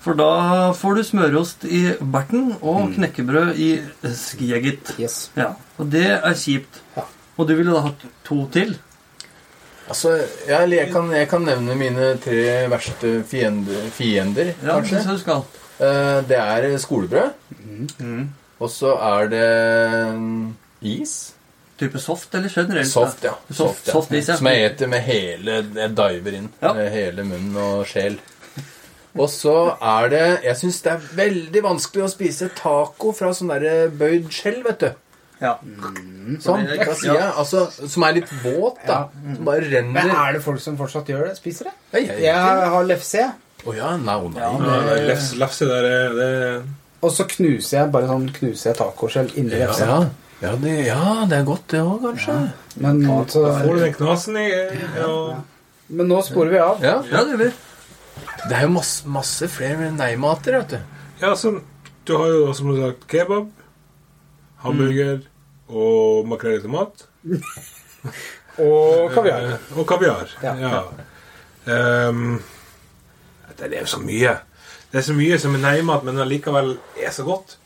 Speaker 2: For da får du smørost i berten
Speaker 3: Mm.
Speaker 2: og knekkebrød i skjeget.
Speaker 1: Yes.
Speaker 2: Ja, og det er kjipt.
Speaker 1: Ja.
Speaker 2: Og du ville da hatt to til?
Speaker 3: Altså, ja, eller jeg, kan, jeg kan nevne mine tre verste fiender, fiender
Speaker 2: Ja, det
Speaker 3: kanskje.
Speaker 2: syns jeg du skal.
Speaker 3: Eh, Det er skolebrød. Og så er det mm, is.
Speaker 2: Type soft eller generelt?
Speaker 3: Soft, ja.
Speaker 2: Soft,
Speaker 3: ja. Mm.
Speaker 2: soft is, ja.
Speaker 3: Som jeg eter med hele Jeg diver inn
Speaker 2: Ja.
Speaker 3: med hele munn og sjel. *laughs* Og så er det Jeg syns det er veldig vanskelig å spise taco fra sånn derre bøyd skjell, vet du.
Speaker 2: ja.
Speaker 3: Sånn.
Speaker 2: Det er
Speaker 3: Da
Speaker 2: riktig,
Speaker 3: sier
Speaker 2: ja.
Speaker 3: jeg altså Som er litt våt, da. Som bare
Speaker 1: Men
Speaker 3: renner.
Speaker 1: er det folk som fortsatt gjør det? Spiser det?
Speaker 3: Nei, jeg-
Speaker 1: Jeg har lefse, jeg.
Speaker 3: Å ja, nei, å nei.
Speaker 4: Ja, det er lefse, lefse der er det
Speaker 1: og så knuser jeg bare sånn knuser jeg tacoskjell inni
Speaker 3: Ja,
Speaker 1: lefsa.
Speaker 3: ja. Ja, det, ja, det er godt, det òg, kanskje.
Speaker 1: Men, så,
Speaker 4: Får du den knasen i ja.
Speaker 1: men nå sporer vi av.
Speaker 3: Ja.
Speaker 2: ja, det vil.
Speaker 3: Det er jo masse, masse flere nei-mater, vet du.
Speaker 4: ja, sånn Du har jo som sagt kebab, hamburger og makrell i tomat.
Speaker 1: Og kaviar.
Speaker 4: Eh, Og kaviar.
Speaker 1: Ja.
Speaker 4: Ja. Ehm, det er jo så mye. Det er så mye som er nærmat, men allikevel er så godt.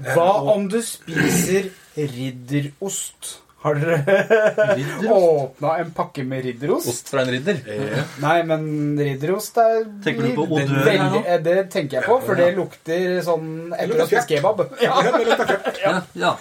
Speaker 4: Eh,
Speaker 1: Hva
Speaker 4: og-
Speaker 1: om du spiser ridderost? Har dere åpna en pakke med ridderost?
Speaker 3: Mm. Ost fra en ridder.
Speaker 1: Nei, men ridderost er
Speaker 2: Tenker du på
Speaker 1: det-
Speaker 2: odør her nå?
Speaker 1: veldig- eh, Det tenker jeg på, for det lukter sånn etter å ha spist kebab. Ja.
Speaker 2: Ja. ja.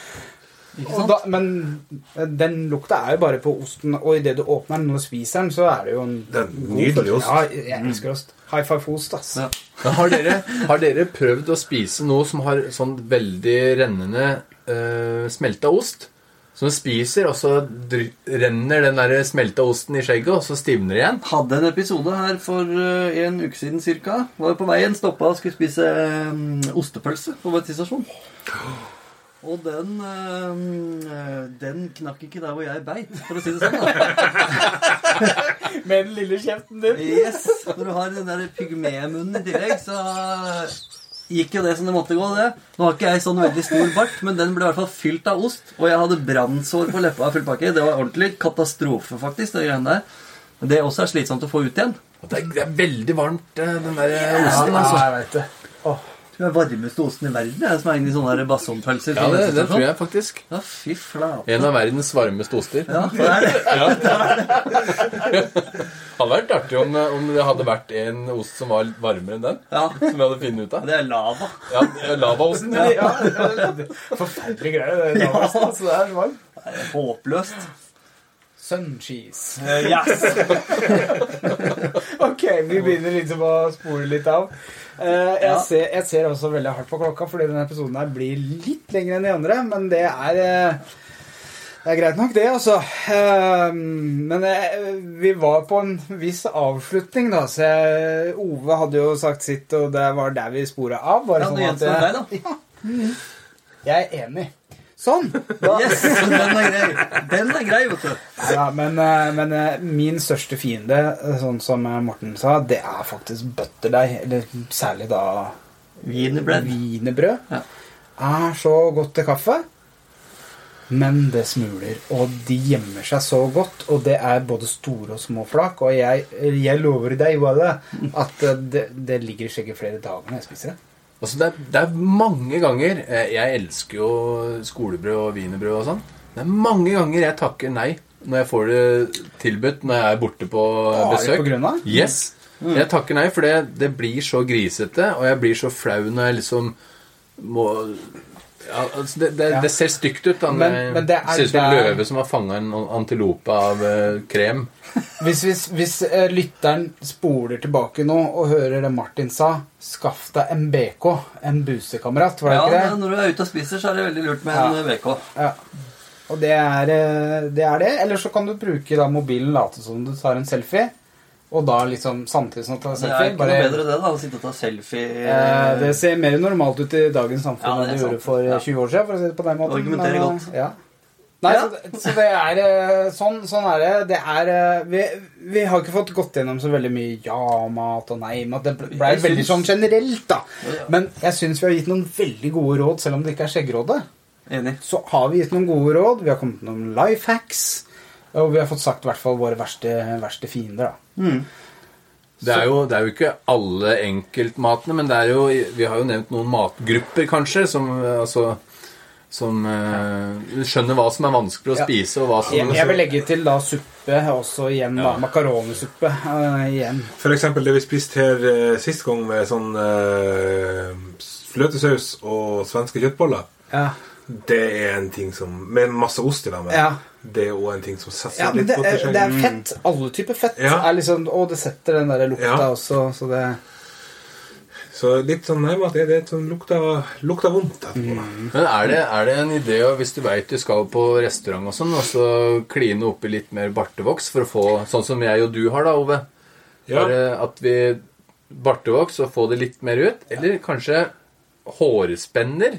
Speaker 2: Ikke
Speaker 1: Og
Speaker 2: sant?
Speaker 1: da, men eh, den lukta er jo bare på osten, og idet du åpner den og spiser den, så er det jo en
Speaker 4: Det er
Speaker 1: god
Speaker 4: nydelig
Speaker 1: følelse.
Speaker 4: ost.
Speaker 1: Ja, jeg elsker ost. High five for ost, ass.
Speaker 2: Ja.
Speaker 3: Men har, dere, har dere prøvd å spise noe som har sånn veldig rennende uh, smelta ost? Som du spiser, og så dry, renner den der smelta osten i skjegget, og så stivner det igjen?
Speaker 2: Hadde en episode her for eh, en uke siden cirka. Var på veien, stoppa og skulle spise eh, ostepølse på bensinstasjonen. Og den eh, Den knakk ikke der hvor jeg beit, for å si det sånn. da.
Speaker 1: *laughs* Med den lille kjeften din.
Speaker 2: Yes, Når du har den der pygmemunnen i tillegg, så eh, gikk jo det som det måtte gå, det. Nå har ikke jeg sånn veldig stor bart, men den ble i hvert fall fylt av ost. Og jeg hadde brannsår på leppa av full pakke. Det var ordentlig katastrofe, faktisk. Det greiene der. Men det også er slitsomt å få ut igjen.
Speaker 3: Og Det er, det er veldig varmt, eh, den der
Speaker 1: Ja,
Speaker 3: osten. altså.
Speaker 1: jeg vet det.
Speaker 2: Jeg tror det er varmeste osten i verden, jeg, som er inni sånne der basongpølser.
Speaker 3: Ja, det, det tror jeg faktisk.
Speaker 2: sånn? Ja, fy flate.
Speaker 3: En av verdens varmeste oster.
Speaker 2: Ja, det er det.
Speaker 3: Hadde vært artig om, eh, om det hadde vært en ost som var litt varmere enn den.
Speaker 2: Ja,
Speaker 3: Som vi hadde funnet ut av.
Speaker 2: det er lava.
Speaker 3: Ja, Lavaosten.
Speaker 1: Ja, ja, det er Forferdelig greier, det der. altså. *laughs* Altså, det er så varmt.
Speaker 2: Det er håpløst.
Speaker 1: Suncheese.
Speaker 2: Yes.
Speaker 1: Ok, vi begynner liksom å spore litt av. Eh, jeg,
Speaker 2: Ja.
Speaker 1: ser, jeg ser også veldig hardt på klokka, fordi denne episoden her blir litt lengre enn de andre. Men det er eh, Det er greit nok, det, altså. Eh, men eh, vi var på en viss avslutning, da. Så jeg, Ove hadde jo sagt sitt, og det var der vi spora av. Bare
Speaker 2: Ja, det
Speaker 1: sånn at
Speaker 2: gjenstår
Speaker 1: jeg,
Speaker 2: deg, da.
Speaker 1: jeg er enig. Sånn! Da,
Speaker 2: Yes, den er grei. Den er grei, vet du.
Speaker 1: Ja, men, eh, men eh, min største fiende, eh, sånn som eh, Morten sa, det er faktisk butterdeig. Eller særlig da
Speaker 2: Wienerbrød.
Speaker 1: wienerbrød.
Speaker 2: Ja.
Speaker 1: Er så godt til kaffe. Men det smuler, og de gjemmer seg så godt. Og det er både store og små flak. Og jeg, jeg lover deg, Walle, at eh, det, det ligger i skjegget flere dager når jeg spiser det.
Speaker 3: Altså, det, er, det er mange ganger eh, Jeg elsker jo skolebrød og wienerbrød og sånn. Det er mange ganger jeg takker nei når jeg får det tilbudt når jeg er borte på
Speaker 1: Bare
Speaker 3: besøk.
Speaker 1: på grunn av? Mm.
Speaker 3: Yes. Jeg takker nei, for det, det blir så grisete, og jeg blir så flau når jeg liksom må ja, altså det, det,
Speaker 1: Ja.
Speaker 3: det ser stygt ut. da når
Speaker 1: Men-
Speaker 3: jeg
Speaker 1: men det er
Speaker 3: ser ut som en
Speaker 1: der-
Speaker 3: løve som har fanga en antilope av eh, krem.
Speaker 1: Hvis, hvis, hvis eh, lytteren spoler tilbake nå og hører det Martin sa Skaff deg en BK, en busekamerat, var det
Speaker 2: Ja,
Speaker 1: ikke det?
Speaker 2: men når du er ute og spiser, så er det veldig lurt med en VK.
Speaker 1: Ja. Og det er, eh, det er det. Eller så kan du bruke da mobilen, late som du tar en selfie, og da liksom samtidig som du tar
Speaker 2: Det er
Speaker 1: selfie.
Speaker 2: ikke
Speaker 1: Bare,
Speaker 2: noe bedre det da, å sitte og ta selfie.
Speaker 1: eh, det ser mer normalt ut i dagens
Speaker 2: Ja,
Speaker 1: samfunn
Speaker 2: det
Speaker 1: enn
Speaker 2: er
Speaker 1: det
Speaker 2: sant.
Speaker 1: gjorde for eh,
Speaker 2: Ja.
Speaker 1: 20 år siden. for å si det på den måten.
Speaker 2: Argumenterer
Speaker 1: Men, eh,
Speaker 2: godt.
Speaker 1: Ja. Nei,
Speaker 2: Ja.
Speaker 1: Så, så det er eh, sånn, sånn er det. Det er eh, vi, vi har ikke fått gått gjennom så veldig mye ja-mat og nei-mat. Det ble
Speaker 2: Jeg
Speaker 1: veldig sånn
Speaker 2: syns-
Speaker 1: generelt, da.
Speaker 2: Ja.
Speaker 1: Men jeg syns vi har gitt noen veldig gode råd, selv om det ikke er skjeggrådet
Speaker 2: Enig.
Speaker 1: så har vi gitt noen gode råd. Vi har kommet med noen life hacks. Og vi har fått sagt i hvert fall våre verste, verste fiender. da.
Speaker 2: Mm.
Speaker 3: Det er, jo, det er jo ikke alle enkeltmatene, men det er jo, vi har jo nevnt noen matgrupper, kanskje, som, eh, altså, som eh, skjønner hva som er vanskelig å
Speaker 1: Ja.
Speaker 3: spise, og hva som
Speaker 1: Jeg, jeg vil legge til da suppe også igjen. da, Makaronisuppe eh, igjen.
Speaker 4: For eksempel det vi spiste her eh, sist gang med sånn eh, fløtesaus og svenske kjøttboller.
Speaker 1: Ja.
Speaker 4: Det er en ting som Med masse ost i lag med.
Speaker 1: Ja.
Speaker 4: Det er òg en ting som setter seg
Speaker 1: Ja, men
Speaker 4: litt
Speaker 1: det,
Speaker 4: godt i
Speaker 1: er- det er
Speaker 4: skjegget.
Speaker 1: fett. Alle typer fett.
Speaker 4: Ja.
Speaker 1: Er liksom, og det setter den der lukta
Speaker 4: Ja.
Speaker 1: også, så det
Speaker 4: Så litt sånn nærmest er det et sånn lukta, lukta vondt etterpå.
Speaker 1: Mm.
Speaker 3: Men er det, er det en idé å, hvis du veit du skal på restaurant og sånn, og så kline oppi litt mer bartevoks for å få Sånn som jeg og du har, da, Ove.
Speaker 4: Ja.
Speaker 3: Bare at vi bartevoks og få det litt mer ut. Eller kanskje hårspenner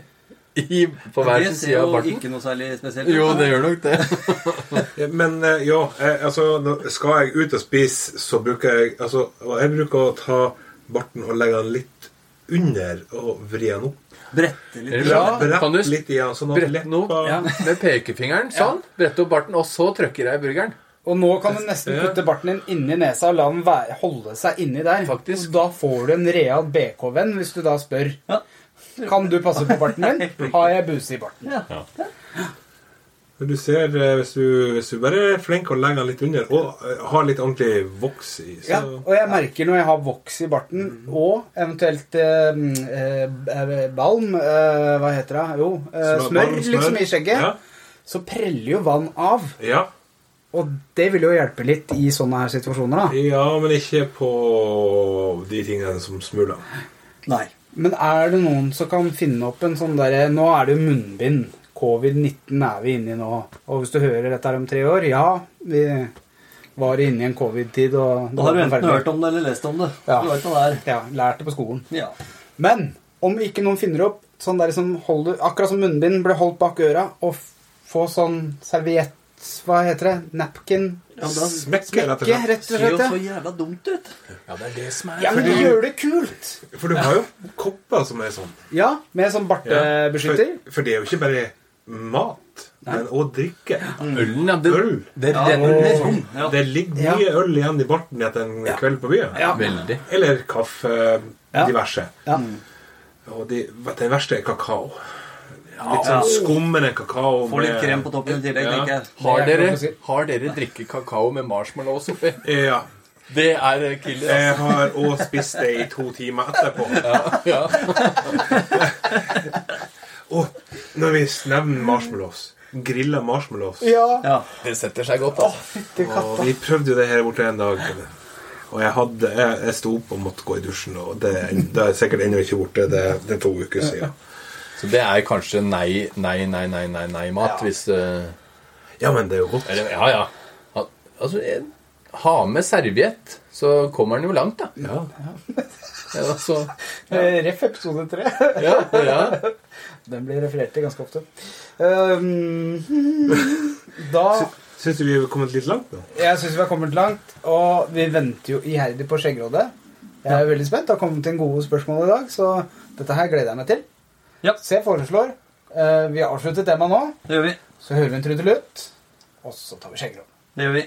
Speaker 3: i, på hver
Speaker 2: Det
Speaker 3: sin
Speaker 2: ser
Speaker 3: side av
Speaker 2: jo
Speaker 3: barten.
Speaker 2: ikke noe særlig spesielt ut.
Speaker 3: Jo, det gjør nok det.
Speaker 4: Ja, Men eh, ja, eh, altså når- Skal jeg ut og spise, så bruker jeg altså, og Jeg bruker å ta barten og legge den litt under og vri den opp.
Speaker 2: Brette litt.
Speaker 3: Eller Ja,
Speaker 4: Brett
Speaker 3: kan du s-
Speaker 4: litt i den, sånn at
Speaker 3: brette
Speaker 4: leppa-
Speaker 3: den opp.
Speaker 2: Ja.
Speaker 3: Med pekefingeren. Sånn. Brette opp barten, og så trykker jeg i burgeren.
Speaker 1: Og nå kan du nesten putte barten din inni nesa og la den være, holde seg inni der.
Speaker 3: Faktisk.
Speaker 1: Og da får du en real BK-venn hvis du da spør
Speaker 2: Ja.
Speaker 1: Kan du passe på barten *laughs* min. Har jeg buse i barten?
Speaker 4: Men du ser, eh, hvis du, hvis du bare er flink og legger den litt under, og eh, har litt ordentlig voks i, så
Speaker 1: Ja, og jeg merker når jeg har voks i barten,
Speaker 2: Mhm.
Speaker 1: og eventuelt eh, eh, balm eh, Hva heter det? Jo, eh,
Speaker 4: så
Speaker 1: smør,
Speaker 4: bare
Speaker 1: liksom i skjegget.
Speaker 4: Ja.
Speaker 1: Så preller jo vann av.
Speaker 4: Ja.
Speaker 1: Og det vil jo hjelpe litt i sånne her situasjoner, da.
Speaker 4: ja, men ikke på de tingene som smuler.
Speaker 1: Nei. Men er det noen som kan finne opp en sånn derre Nå er det jo munnbind. Covid-19 er vi inne i nå. Og hvis du hører dette her om tre år Ja, vi var inne i en covid-tid, og
Speaker 2: Da har du enten hørt om det eller lest om det.
Speaker 1: Ja.
Speaker 2: Du vet hva det er.
Speaker 1: Ja, lært det på skolen.
Speaker 2: Ja.
Speaker 1: Men om ikke noen finner opp sånn der som holder, Akkurat som munnbind ble holdt bak øra, og f- få sånn serviett Hva heter det? Napkin?
Speaker 2: Ja, men da ser
Speaker 4: Smekker, rett og
Speaker 1: Ikke,
Speaker 4: slett.
Speaker 1: rett og
Speaker 2: det jo
Speaker 1: slett.
Speaker 2: så
Speaker 1: ja.
Speaker 2: jævla dumt ut.
Speaker 3: Ja, det er det som
Speaker 1: Ja, men gjør det kult!
Speaker 4: For du har jo kopper som er sånn.
Speaker 1: Ja, med sånn
Speaker 2: Eh,
Speaker 1: bartebeskytter.
Speaker 4: For, for det er jo ikke bare mat, men òg drikke.
Speaker 3: Ølen, ja. Det,
Speaker 4: Øl.
Speaker 3: det
Speaker 2: Ja,
Speaker 3: renner
Speaker 2: det er
Speaker 3: sånn.
Speaker 2: sånn. Ja.
Speaker 4: Det ligger
Speaker 1: Ja.
Speaker 4: mye øl igjen i barten etter en kveld på byen.
Speaker 1: Ja.
Speaker 3: Veldig.
Speaker 4: Eller kaffe.
Speaker 1: Ja.
Speaker 4: Diverse.
Speaker 1: Ja.
Speaker 4: Og de, vet, det verste er kakao. Litt sånn skummende kakao.
Speaker 2: Får litt krem på toppen i tillegg,
Speaker 4: Ja.
Speaker 2: tenker jeg.
Speaker 3: Har
Speaker 1: Det er
Speaker 3: dere,
Speaker 1: ikke lov å si.
Speaker 3: har dere drikke kakao med marshmallows oppi?
Speaker 4: Ja.
Speaker 3: *laughs* Det er
Speaker 1: Eh.
Speaker 3: killer. altså.
Speaker 4: Jeg har òg spist det i to timer etterpå.
Speaker 3: Ja.
Speaker 4: *laughs* Og når vi nevner marshmallows Grilla marshmallows.
Speaker 1: Ja.
Speaker 2: Ja.
Speaker 3: Det setter seg godt, altså.
Speaker 1: Fytti
Speaker 4: Og
Speaker 1: katta.
Speaker 4: vi prøvde jo det her borte en dag. Og jeg, hadde, jeg, jeg sto opp og måtte gå i dusjen, og det, det er sikkert ennå ikke borte. Det, det er to uker siden.
Speaker 3: Så det er kanskje nei, nei, nei, nei, nei, nei mat hvis eh,
Speaker 4: Ja, men det er jo godt.
Speaker 3: Eller ja, ja. Al- Altså, eh, ha med serviett, så kommer den jo langt, da.
Speaker 4: Ja.
Speaker 3: Ja, altså,
Speaker 1: Eh, Ref episode tre.
Speaker 3: ja, ja.
Speaker 1: Den blir referert til ganske ofte. Um, *laughs* da
Speaker 4: Syns du vi har kommet litt langt nå?
Speaker 1: Jeg syns vi har kommet langt, og vi venter jo iherdig på Skjeggrådet. Jeg er veldig spent. Det har kommet inn gode spørsmål i dag, så dette her gleder jeg meg til.
Speaker 2: Ja.
Speaker 1: Så jeg foreslår eh, Vi har avsluttet temaet nå,
Speaker 2: Det gjør vi.
Speaker 1: så hører vi en trudelutt, og så tar vi Skjeggrådet.
Speaker 2: Det gjør vi.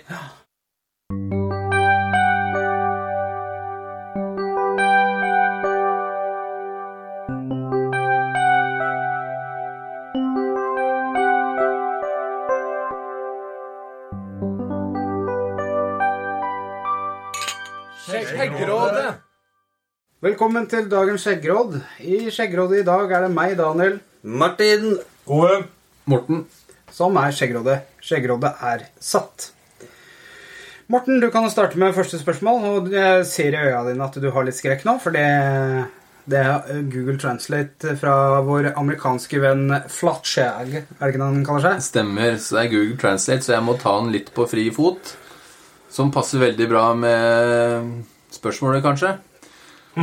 Speaker 3: Skjeggrådet!
Speaker 1: Velkommen til dagens skjeggråd. I skjeggrådet i dag er det meg, Daniel,
Speaker 2: Martin.
Speaker 4: Gode.
Speaker 3: Morten.
Speaker 1: som er skjeggrådet. Skjeggrådet er satt. Morten, du kan jo starte med første spørsmål. Og jeg ser i øya dine at du har litt skrekk nå, for det, det er Google Translate fra vår amerikanske venn Flatskjæg. Er det ikke det han kaller seg?
Speaker 3: Stemmer. Så det er Google Translate, så jeg må ta den litt på fri fot. Som passer veldig bra med spørsmålet, kanskje. *laughs*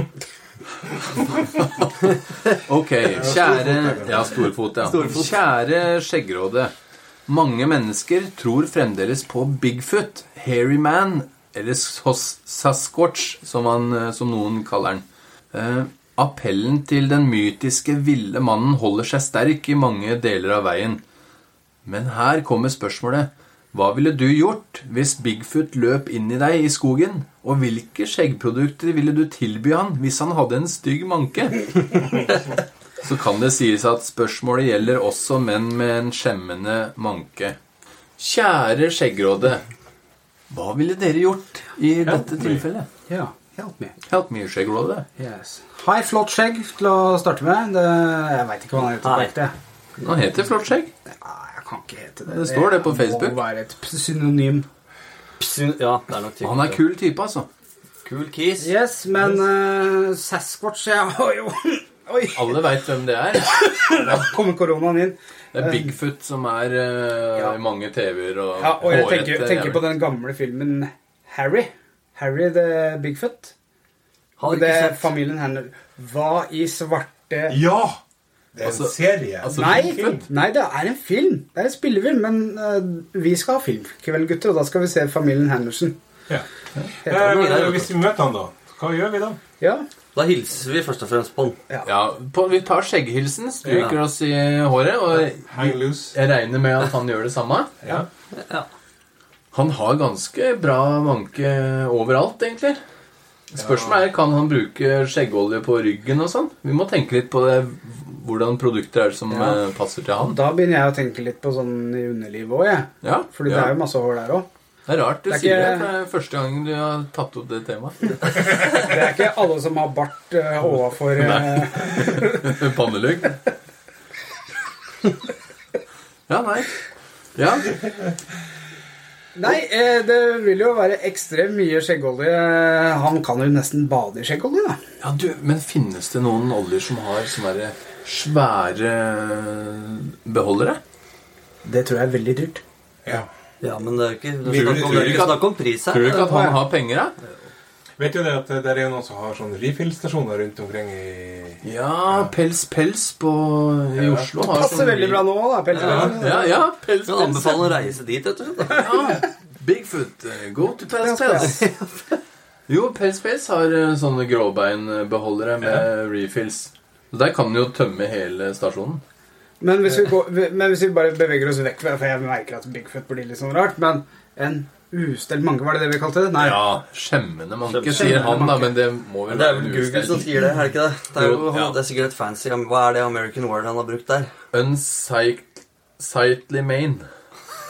Speaker 3: ok. Kjære Ja, storfot, ja. Kjære Skjeggråde. Mange mennesker tror fremdeles på Bigfoot, Hairy Man eller Sos Sasquatch, som, han, eh, som noen kaller den. Eh, appellen til den mytiske ville mannen holder seg sterk i mange deler av veien. Men her kommer spørsmålet. Hva ville du gjort hvis Bigfoot løp inn i deg i skogen? Og hvilke skjeggprodukter ville du tilby han hvis han hadde en stygg manke? Så kan det sies at spørsmålet gjelder også menn med en skjemmende manke. Kjære Skjeggråde. Hva ville dere gjort i dette tilfellet?
Speaker 1: Ja, hjelp meg.
Speaker 3: Helt mye Skjeggråde.
Speaker 1: Yes. Hei, flott skjegg til å starte med. Det, jeg veit ikke hva han heter på
Speaker 2: Nei.
Speaker 1: ekte.
Speaker 3: Han heter Flott skjegg.
Speaker 1: Nei, Jeg kan ikke hete det.
Speaker 3: Det står det på Facebook.
Speaker 1: må være et synonym.
Speaker 2: Psyn- Ja, det er nok typen.
Speaker 3: Han er kul type, altså.
Speaker 2: Kul kis.
Speaker 1: Yes, men eh, Sasquatch jeg har jo *laughs* Oi,
Speaker 3: Alle veit hvem det er.
Speaker 1: der kommer koronaen inn.
Speaker 3: Det er Bigfoot som er eh,
Speaker 1: Ja.
Speaker 3: i mange TV-er og
Speaker 1: Ja, og jeg tenker,
Speaker 3: hårete
Speaker 1: tenker på
Speaker 3: jævler.
Speaker 1: den gamle filmen Harry. Harry the Bigfoot.
Speaker 2: Har
Speaker 1: det
Speaker 2: ikke
Speaker 1: er
Speaker 2: sett.
Speaker 1: familien hennes. Hva i svarte
Speaker 4: Ja! Det er en
Speaker 3: Altså-
Speaker 4: serie.
Speaker 3: altså-
Speaker 1: Nei,
Speaker 3: film.
Speaker 1: nei, det er en film. Det er en spillefilm. Men eh, vi skal ha filmkveld, gutter, og da skal vi se Familien Henderson.
Speaker 4: ja.
Speaker 1: Heter
Speaker 4: Eh,
Speaker 1: den.
Speaker 4: men, eh, hvis vi møter han, da? Hva gjør vi da?
Speaker 1: Ja.
Speaker 2: Da hilser vi først og fremst på han.
Speaker 3: Ja, på, Vi tar skjegghilsen, stryker
Speaker 2: Ja.
Speaker 3: oss i håret, og
Speaker 4: Hang loose.
Speaker 3: jeg regner med at han gjør det samme.
Speaker 4: Ja.
Speaker 2: Ja.
Speaker 3: Han har ganske bra manke overalt, egentlig. Spørsmålet er, kan han bruke skjeggolje på ryggen og sånn? Vi må tenke litt på det, hvordan produkter er det som
Speaker 1: Ja.
Speaker 3: eh, passer til han.
Speaker 1: Da begynner jeg å tenke litt på sånn i underlivet òg, jeg.
Speaker 3: Ja,
Speaker 1: Fordi
Speaker 3: ja.
Speaker 1: det er jo masse hår der òg.
Speaker 3: det er rart du
Speaker 1: det er
Speaker 3: sier det.
Speaker 1: ikke-
Speaker 3: for Det er første gang du har tatt opp det temaet.
Speaker 1: Det er ikke alle som har bart uh, overfor eh,
Speaker 3: Pannelugg. Ja, nei. Ja,
Speaker 1: Nei, eh, det vil jo være ekstremt mye skjeggolje. Han kan jo nesten bade i skjeggolje, da.
Speaker 3: Ja, du, men finnes det noen oljer som har sånne der svære beholdere?
Speaker 1: Det tror jeg er veldig dyrt.
Speaker 4: Ja.
Speaker 2: Ja, men det er jo ikke, det er
Speaker 4: Tror du-
Speaker 2: snakk om,
Speaker 4: tror
Speaker 2: det
Speaker 4: du
Speaker 2: er
Speaker 4: ikke
Speaker 2: ikke snakk om pris her.
Speaker 3: Tror du ikke at han har penger, da?
Speaker 4: Vet du det at det er jo noen som har sånne refill-stasjoner rundt omkring i
Speaker 3: Ja, Pels Pels på, i Oslo har sånn
Speaker 1: Passer veldig bra nå da, Pelle.
Speaker 3: Ja, ja,
Speaker 2: Jeg
Speaker 3: Pels Pels.
Speaker 2: anbefaler å reise dit, rett og slett.
Speaker 3: Ja. Bigfoot, eh, go to Pels Pels. Jo, Pels Pels har eh, sånne gråbeinbeholdere med refills. Så der kan du jo tømme hele stasjonen.
Speaker 1: Men hvis, vi går, men hvis vi bare beveger oss vekk For jeg merker at Bigfoot blir litt sånn rart Men en ustelt manke, var det det vi kalte det? Nei,
Speaker 3: Ja, skjemmende manke,
Speaker 2: Skjemmende
Speaker 3: sier han, da,
Speaker 1: manke.
Speaker 3: men det må vel
Speaker 2: Det er vel
Speaker 3: en
Speaker 2: Google
Speaker 3: ustell.
Speaker 2: som sier det, er det ikke det? Det er, jo,
Speaker 3: Ja.
Speaker 2: det er sikkert et fancy Hva er det American word han har brukt der?
Speaker 3: Unsightly mane.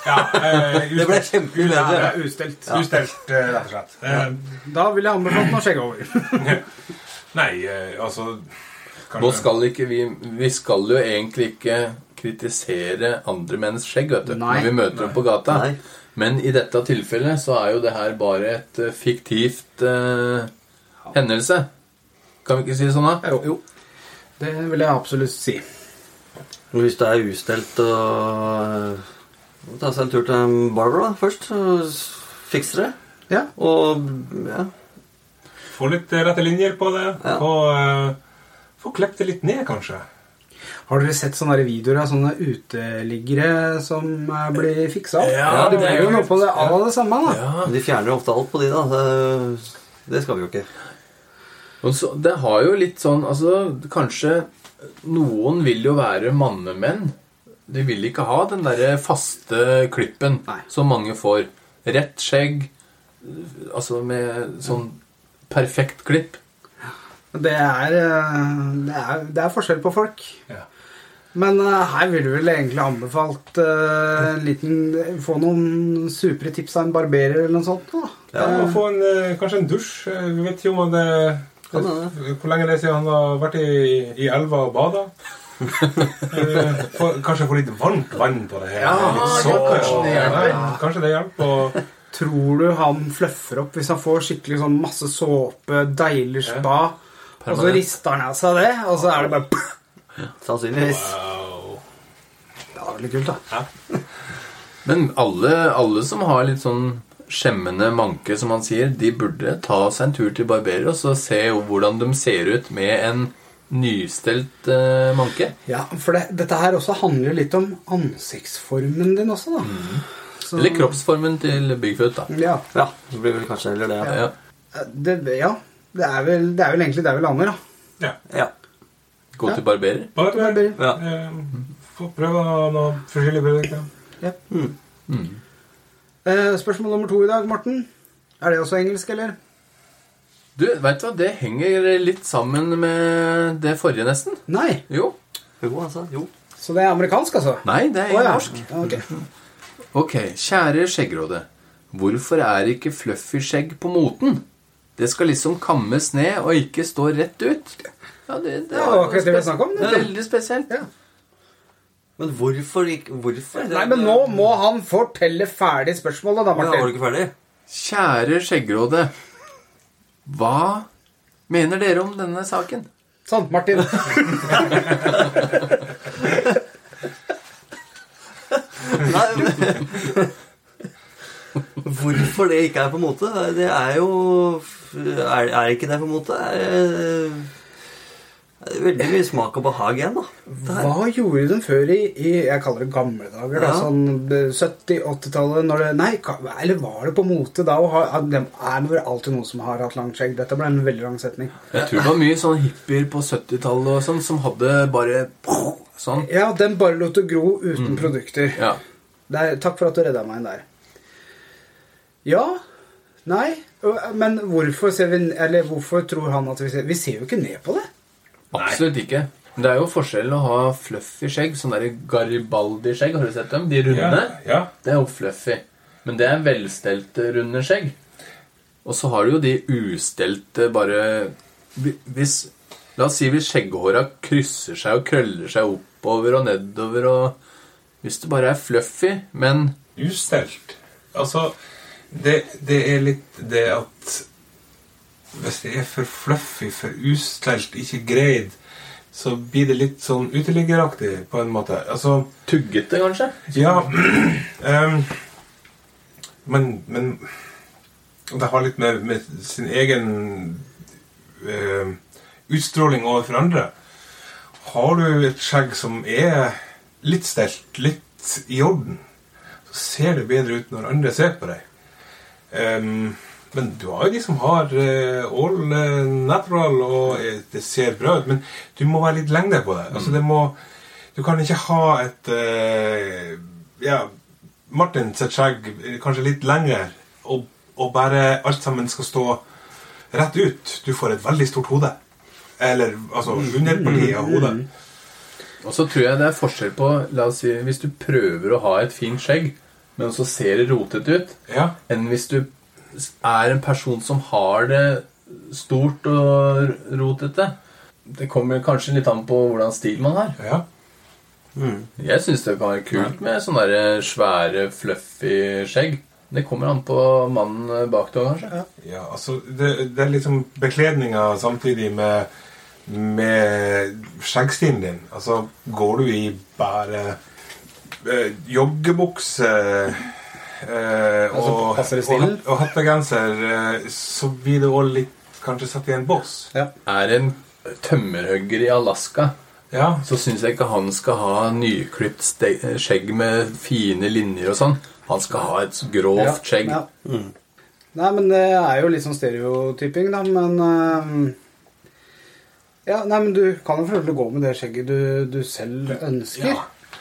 Speaker 4: Ja, *laughs* eh,
Speaker 2: Det ble kjempelig
Speaker 1: det
Speaker 2: bedre.
Speaker 1: er ustelt
Speaker 4: Ustelt, eh, rett og slett. Eh,
Speaker 1: Da vil jeg anbefale noe skjegg over
Speaker 4: nei, eh, altså kanskje-
Speaker 3: Nå skal ikke vi Vi skal jo egentlig ikke kritisere andre menns skjegg, vet du,
Speaker 1: Nei.
Speaker 3: når vi møter dem på gata.
Speaker 2: Nei.
Speaker 3: Men i dette tilfellet så er jo det her bare et eh, fiktivt eh, hendelse. Kan vi ikke si det sånn, da?
Speaker 1: *laughs* Jo, det vil jeg absolutt si
Speaker 2: Men Hvis det er ustelt og må Ta seg en tur til en barber da, først, og s- fikse det.
Speaker 1: Ja,
Speaker 2: Og ja.
Speaker 4: Få litt eh, rette linjer på det.
Speaker 2: Ja.
Speaker 4: Få, eh, få klept det litt ned, kanskje.
Speaker 1: har dere sett sånne her videoer av sånne uteliggere som eh, blir fiksa? opp?
Speaker 3: Ja,
Speaker 1: det
Speaker 3: det er
Speaker 1: blir jo noe på det aller det samme da
Speaker 3: Ja.
Speaker 2: Men De fjerner jo ofte alt på de, da. Det, det skal vi jo ikke.
Speaker 3: Og så, det har jo litt sånn Altså, kanskje Noen vil jo være mannemenn. De vil ikke ha den derre faste klippen
Speaker 1: Nei.
Speaker 3: som mange får. Rett skjegg, altså med sånn perfekt klipp.
Speaker 1: det er, eh, det, er, det er forskjell på folk
Speaker 4: Ja.
Speaker 1: Men eh, her ville du vel egentlig anbefalt eh, en liten Få noen supre tips av en barberer eller noe sånt. da.
Speaker 4: Ja, og få en, eh, kanskje en dusj. Eh, Vi vet jo om han eh,
Speaker 2: Kan hende.
Speaker 4: Hvor lenge det er siden han har vært i, i elva og bada? Eh, få- kanskje få litt varmt vann på det her.
Speaker 3: Ja,
Speaker 4: litt
Speaker 3: ja,
Speaker 4: såpe.
Speaker 3: kanskje det hjelper.
Speaker 4: Ja, kanskje det hjelper. Og,
Speaker 1: Tror du han fluffer opp hvis han får skikkelig sånn masse såpe, deilig spa, og så
Speaker 3: Permanent.
Speaker 1: rister han av seg det, og så er det bare
Speaker 2: Sannsynligvis.
Speaker 1: Det er veldig kult, da.
Speaker 3: Men alle, alle som har litt sånn skjemmende manke, som han sier, de burde ta seg en tur til barberer og så se jo hvordan de ser ut med en nystelt eh, manke.
Speaker 1: Ja, For det, dette her også handler jo litt om ansiktsformen din også, da. Så-
Speaker 3: Mhm. Eller kroppsformen til Bigfoot, da.
Speaker 1: Ja.
Speaker 2: Ja, det blir vel kanskje heller det. Ja.
Speaker 3: Ja.
Speaker 1: Det, ja. Det, er vel, det er vel egentlig der vi lander, da.
Speaker 4: ja.
Speaker 2: Ja.
Speaker 3: Gå til barberer.
Speaker 4: Bare
Speaker 1: Barberer.
Speaker 2: Ja.
Speaker 3: Mm.
Speaker 4: eh, få prøve noen forskjellige produkter.
Speaker 1: Eh, spørsmål nummer to i dag, Morten. Er det også engelsk, eller?
Speaker 3: Du, veit du hva, det henger litt sammen med det forrige, nesten.
Speaker 1: Nei.
Speaker 3: Jo.
Speaker 2: Jo, altså. Jo.
Speaker 1: Så det er amerikansk, altså?
Speaker 3: Nei, det er
Speaker 1: Å, ja.
Speaker 3: norsk.
Speaker 1: Ok.
Speaker 3: Ok, kjære skjeggråde. Hvorfor er ikke fluffy skjegg på moten? Det skal liksom kammes ned og ikke stå rett ut. Ja, det, det,
Speaker 1: Ja, det var akkurat det vi snakket om, det.
Speaker 3: Det er veldig spesielt.
Speaker 1: Ja.
Speaker 2: Men hvorfor ikke Hvorfor?
Speaker 1: Nei, men nå må han fortelle ferdig spørsmålet, da,
Speaker 2: Ja, Var du
Speaker 1: Martin.
Speaker 2: ikke ferdig?
Speaker 3: Kjære skjeggråde. Hva mener dere om denne saken?
Speaker 1: Sant, Sånn, Martin.
Speaker 2: Nei, men *laughs* Hvorfor det ikke er på en måte? Det er jo Er, er ikke det på en måte? Er, er veldig mye smak og behag igjen, da. Det her.
Speaker 1: Hva gjorde de før i, i jeg kaller det gamle dager, da,
Speaker 2: Ja.
Speaker 1: sånn 70-80-tallet? når det- Nei, ka- eller var det på mote da? å ha- at Det er vel alltid noen som har hatt langt skjegg. Dette ble en veldig lang setning.
Speaker 3: Jeg tror det var mye sånn hippier på 70-tallet og sånn som hadde bare sånn.
Speaker 1: Ja, den bare lot det gro uten produkter.
Speaker 3: Ja.
Speaker 1: Der, takk for at du redda meg der. Ja. Nei. ø, Men hvorfor ser vi Eller hvorfor tror han at vi ser Vi ser jo ikke ned på det.
Speaker 3: Absolutt ikke. Men det er jo forskjellen å ha fluffy skjegg, sånn derre Garibaldi-skjegg. Har du sett dem? De runde.
Speaker 4: Ja, ja.
Speaker 3: Det er jo fluffy. Men det er velstelte, runde skjegg. Og så har du jo de ustelte, bare hvi- Hvis La oss si hvis skjegghåra krysser seg og krøller seg oppover og nedover og Hvis det bare er fluffy, men
Speaker 4: Ustelt. Altså, det, det er litt det at Hvis det er for fluffy, for ustelt, ikke greid, så blir det litt sånn uteliggeraktig, på en måte. Altså,
Speaker 3: tuggete, kanskje?
Speaker 4: ja ehm, Men, men det har litt med, med sin egen eh, utstråling overfor andre. Har du et skjegg som er litt stelt, litt i orden, så ser det bedre ut når andre ser på deg. Ehm, men du har jo de som har eh, all eh, natural, og eh, det ser bra ut. Men du må være litt lengre på det. Altså, det må, du kan ikke ha et eh, Ja, Martin sitt skjegg eh, kanskje litt lengre, og, og bare alt sammen skal stå rett ut. Du får et veldig stort hode. Eller altså underpartiet av hodet.
Speaker 3: Og så tror jeg det er forskjell på La oss si hvis du prøver å ha et fint skjegg, men så ser det rotete ut,
Speaker 4: Ja.
Speaker 3: enn hvis du er en person som har det stort og rotete. Det kommer kanskje litt an på hvordan stil man har.
Speaker 4: ja.
Speaker 3: Jeg syns det kan være kult med sånne der svære, fluffy skjegg. Det kommer an på mannen bak deg, kanskje.
Speaker 4: Ja, altså det, det er liksom bekledninga samtidig med, med skjeggstilen din. Altså, går du i bare eh, joggebukse eh,
Speaker 1: som
Speaker 4: og,
Speaker 1: Altså, passer i
Speaker 4: og,
Speaker 1: stilen?
Speaker 4: og hettegenser, eh, så blir det òg litt kanskje satt i en bås.
Speaker 1: Ja.
Speaker 3: Er en tømmerhugger i Alaska,
Speaker 4: Ja.
Speaker 3: så syns jeg ikke han skal ha nyklipt ste- skjegg med fine linjer og sånn. Han skal ha et grovt skjegg.
Speaker 1: Ja. Nei, men det er jo litt sånn stereotyping, da, men ehm, Ja, nei, men du kan jo selvfølgelig gå med det skjegget du, du selv ønsker.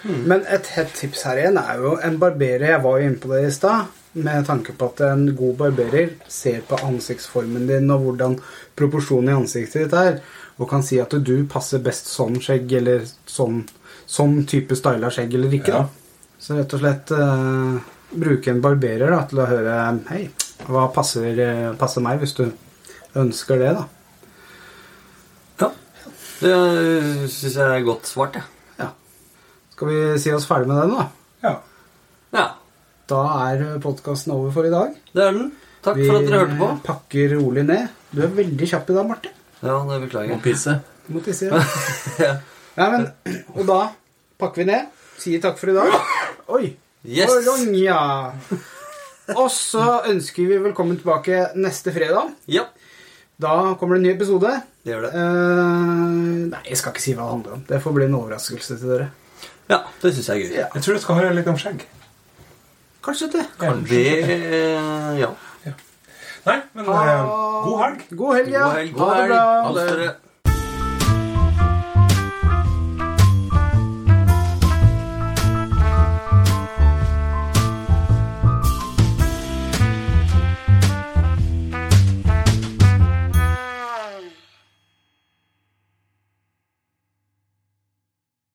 Speaker 1: Mm. Men et hett tips her igjen er jo en barberer Jeg var jo inne på det i stad. Med tanke på at en god barberer ser på ansiktsformen din og hvordan proporsjonen i ansiktet ditt er, og kan si at du passer best sånn skjegg eller sånn, sånn type styla skjegg eller ikke.
Speaker 4: Ja.
Speaker 1: da. Så rett og slett eh, bruke en barberer da, til å høre Hei, hva passer, eh, passer meg, hvis du ønsker det, da?
Speaker 2: Ja. Det syns jeg er godt svart, jeg.
Speaker 1: Ja. Skal vi si oss ferdig med den, da?
Speaker 4: ja.
Speaker 2: Ja.
Speaker 1: Da er podkasten over for i dag.
Speaker 2: Det er den. Takk for at dere hørte på.
Speaker 1: Vi eh, pakker rolig ned. Du er veldig kjapp i dag, Marte.
Speaker 2: Ja, det
Speaker 3: Og
Speaker 2: beklager jeg.
Speaker 3: pisse.
Speaker 1: Du må tisse. ja. Nei, men, og da pakker vi ned. Sier takk for i dag. Oi.
Speaker 2: Yes.
Speaker 1: for lang, ja. Og så ønsker vi velkommen tilbake neste fredag.
Speaker 2: Ja,
Speaker 1: Da kommer det en ny episode.
Speaker 2: det gjør det.
Speaker 1: Eh, nei, jeg skal ikke si hva det handler om. Det får bli en overraskelse til dere.
Speaker 2: Ja, det syns jeg er gøy.
Speaker 1: Ja.
Speaker 4: Jeg tror du skal høre litt om skjegg.
Speaker 1: Kanskje det.
Speaker 2: Det eh, Ja.
Speaker 4: Nei, men eh, god helg.
Speaker 1: God helg, ja.
Speaker 2: God helg.
Speaker 1: Ha det bra.
Speaker 2: Ha det.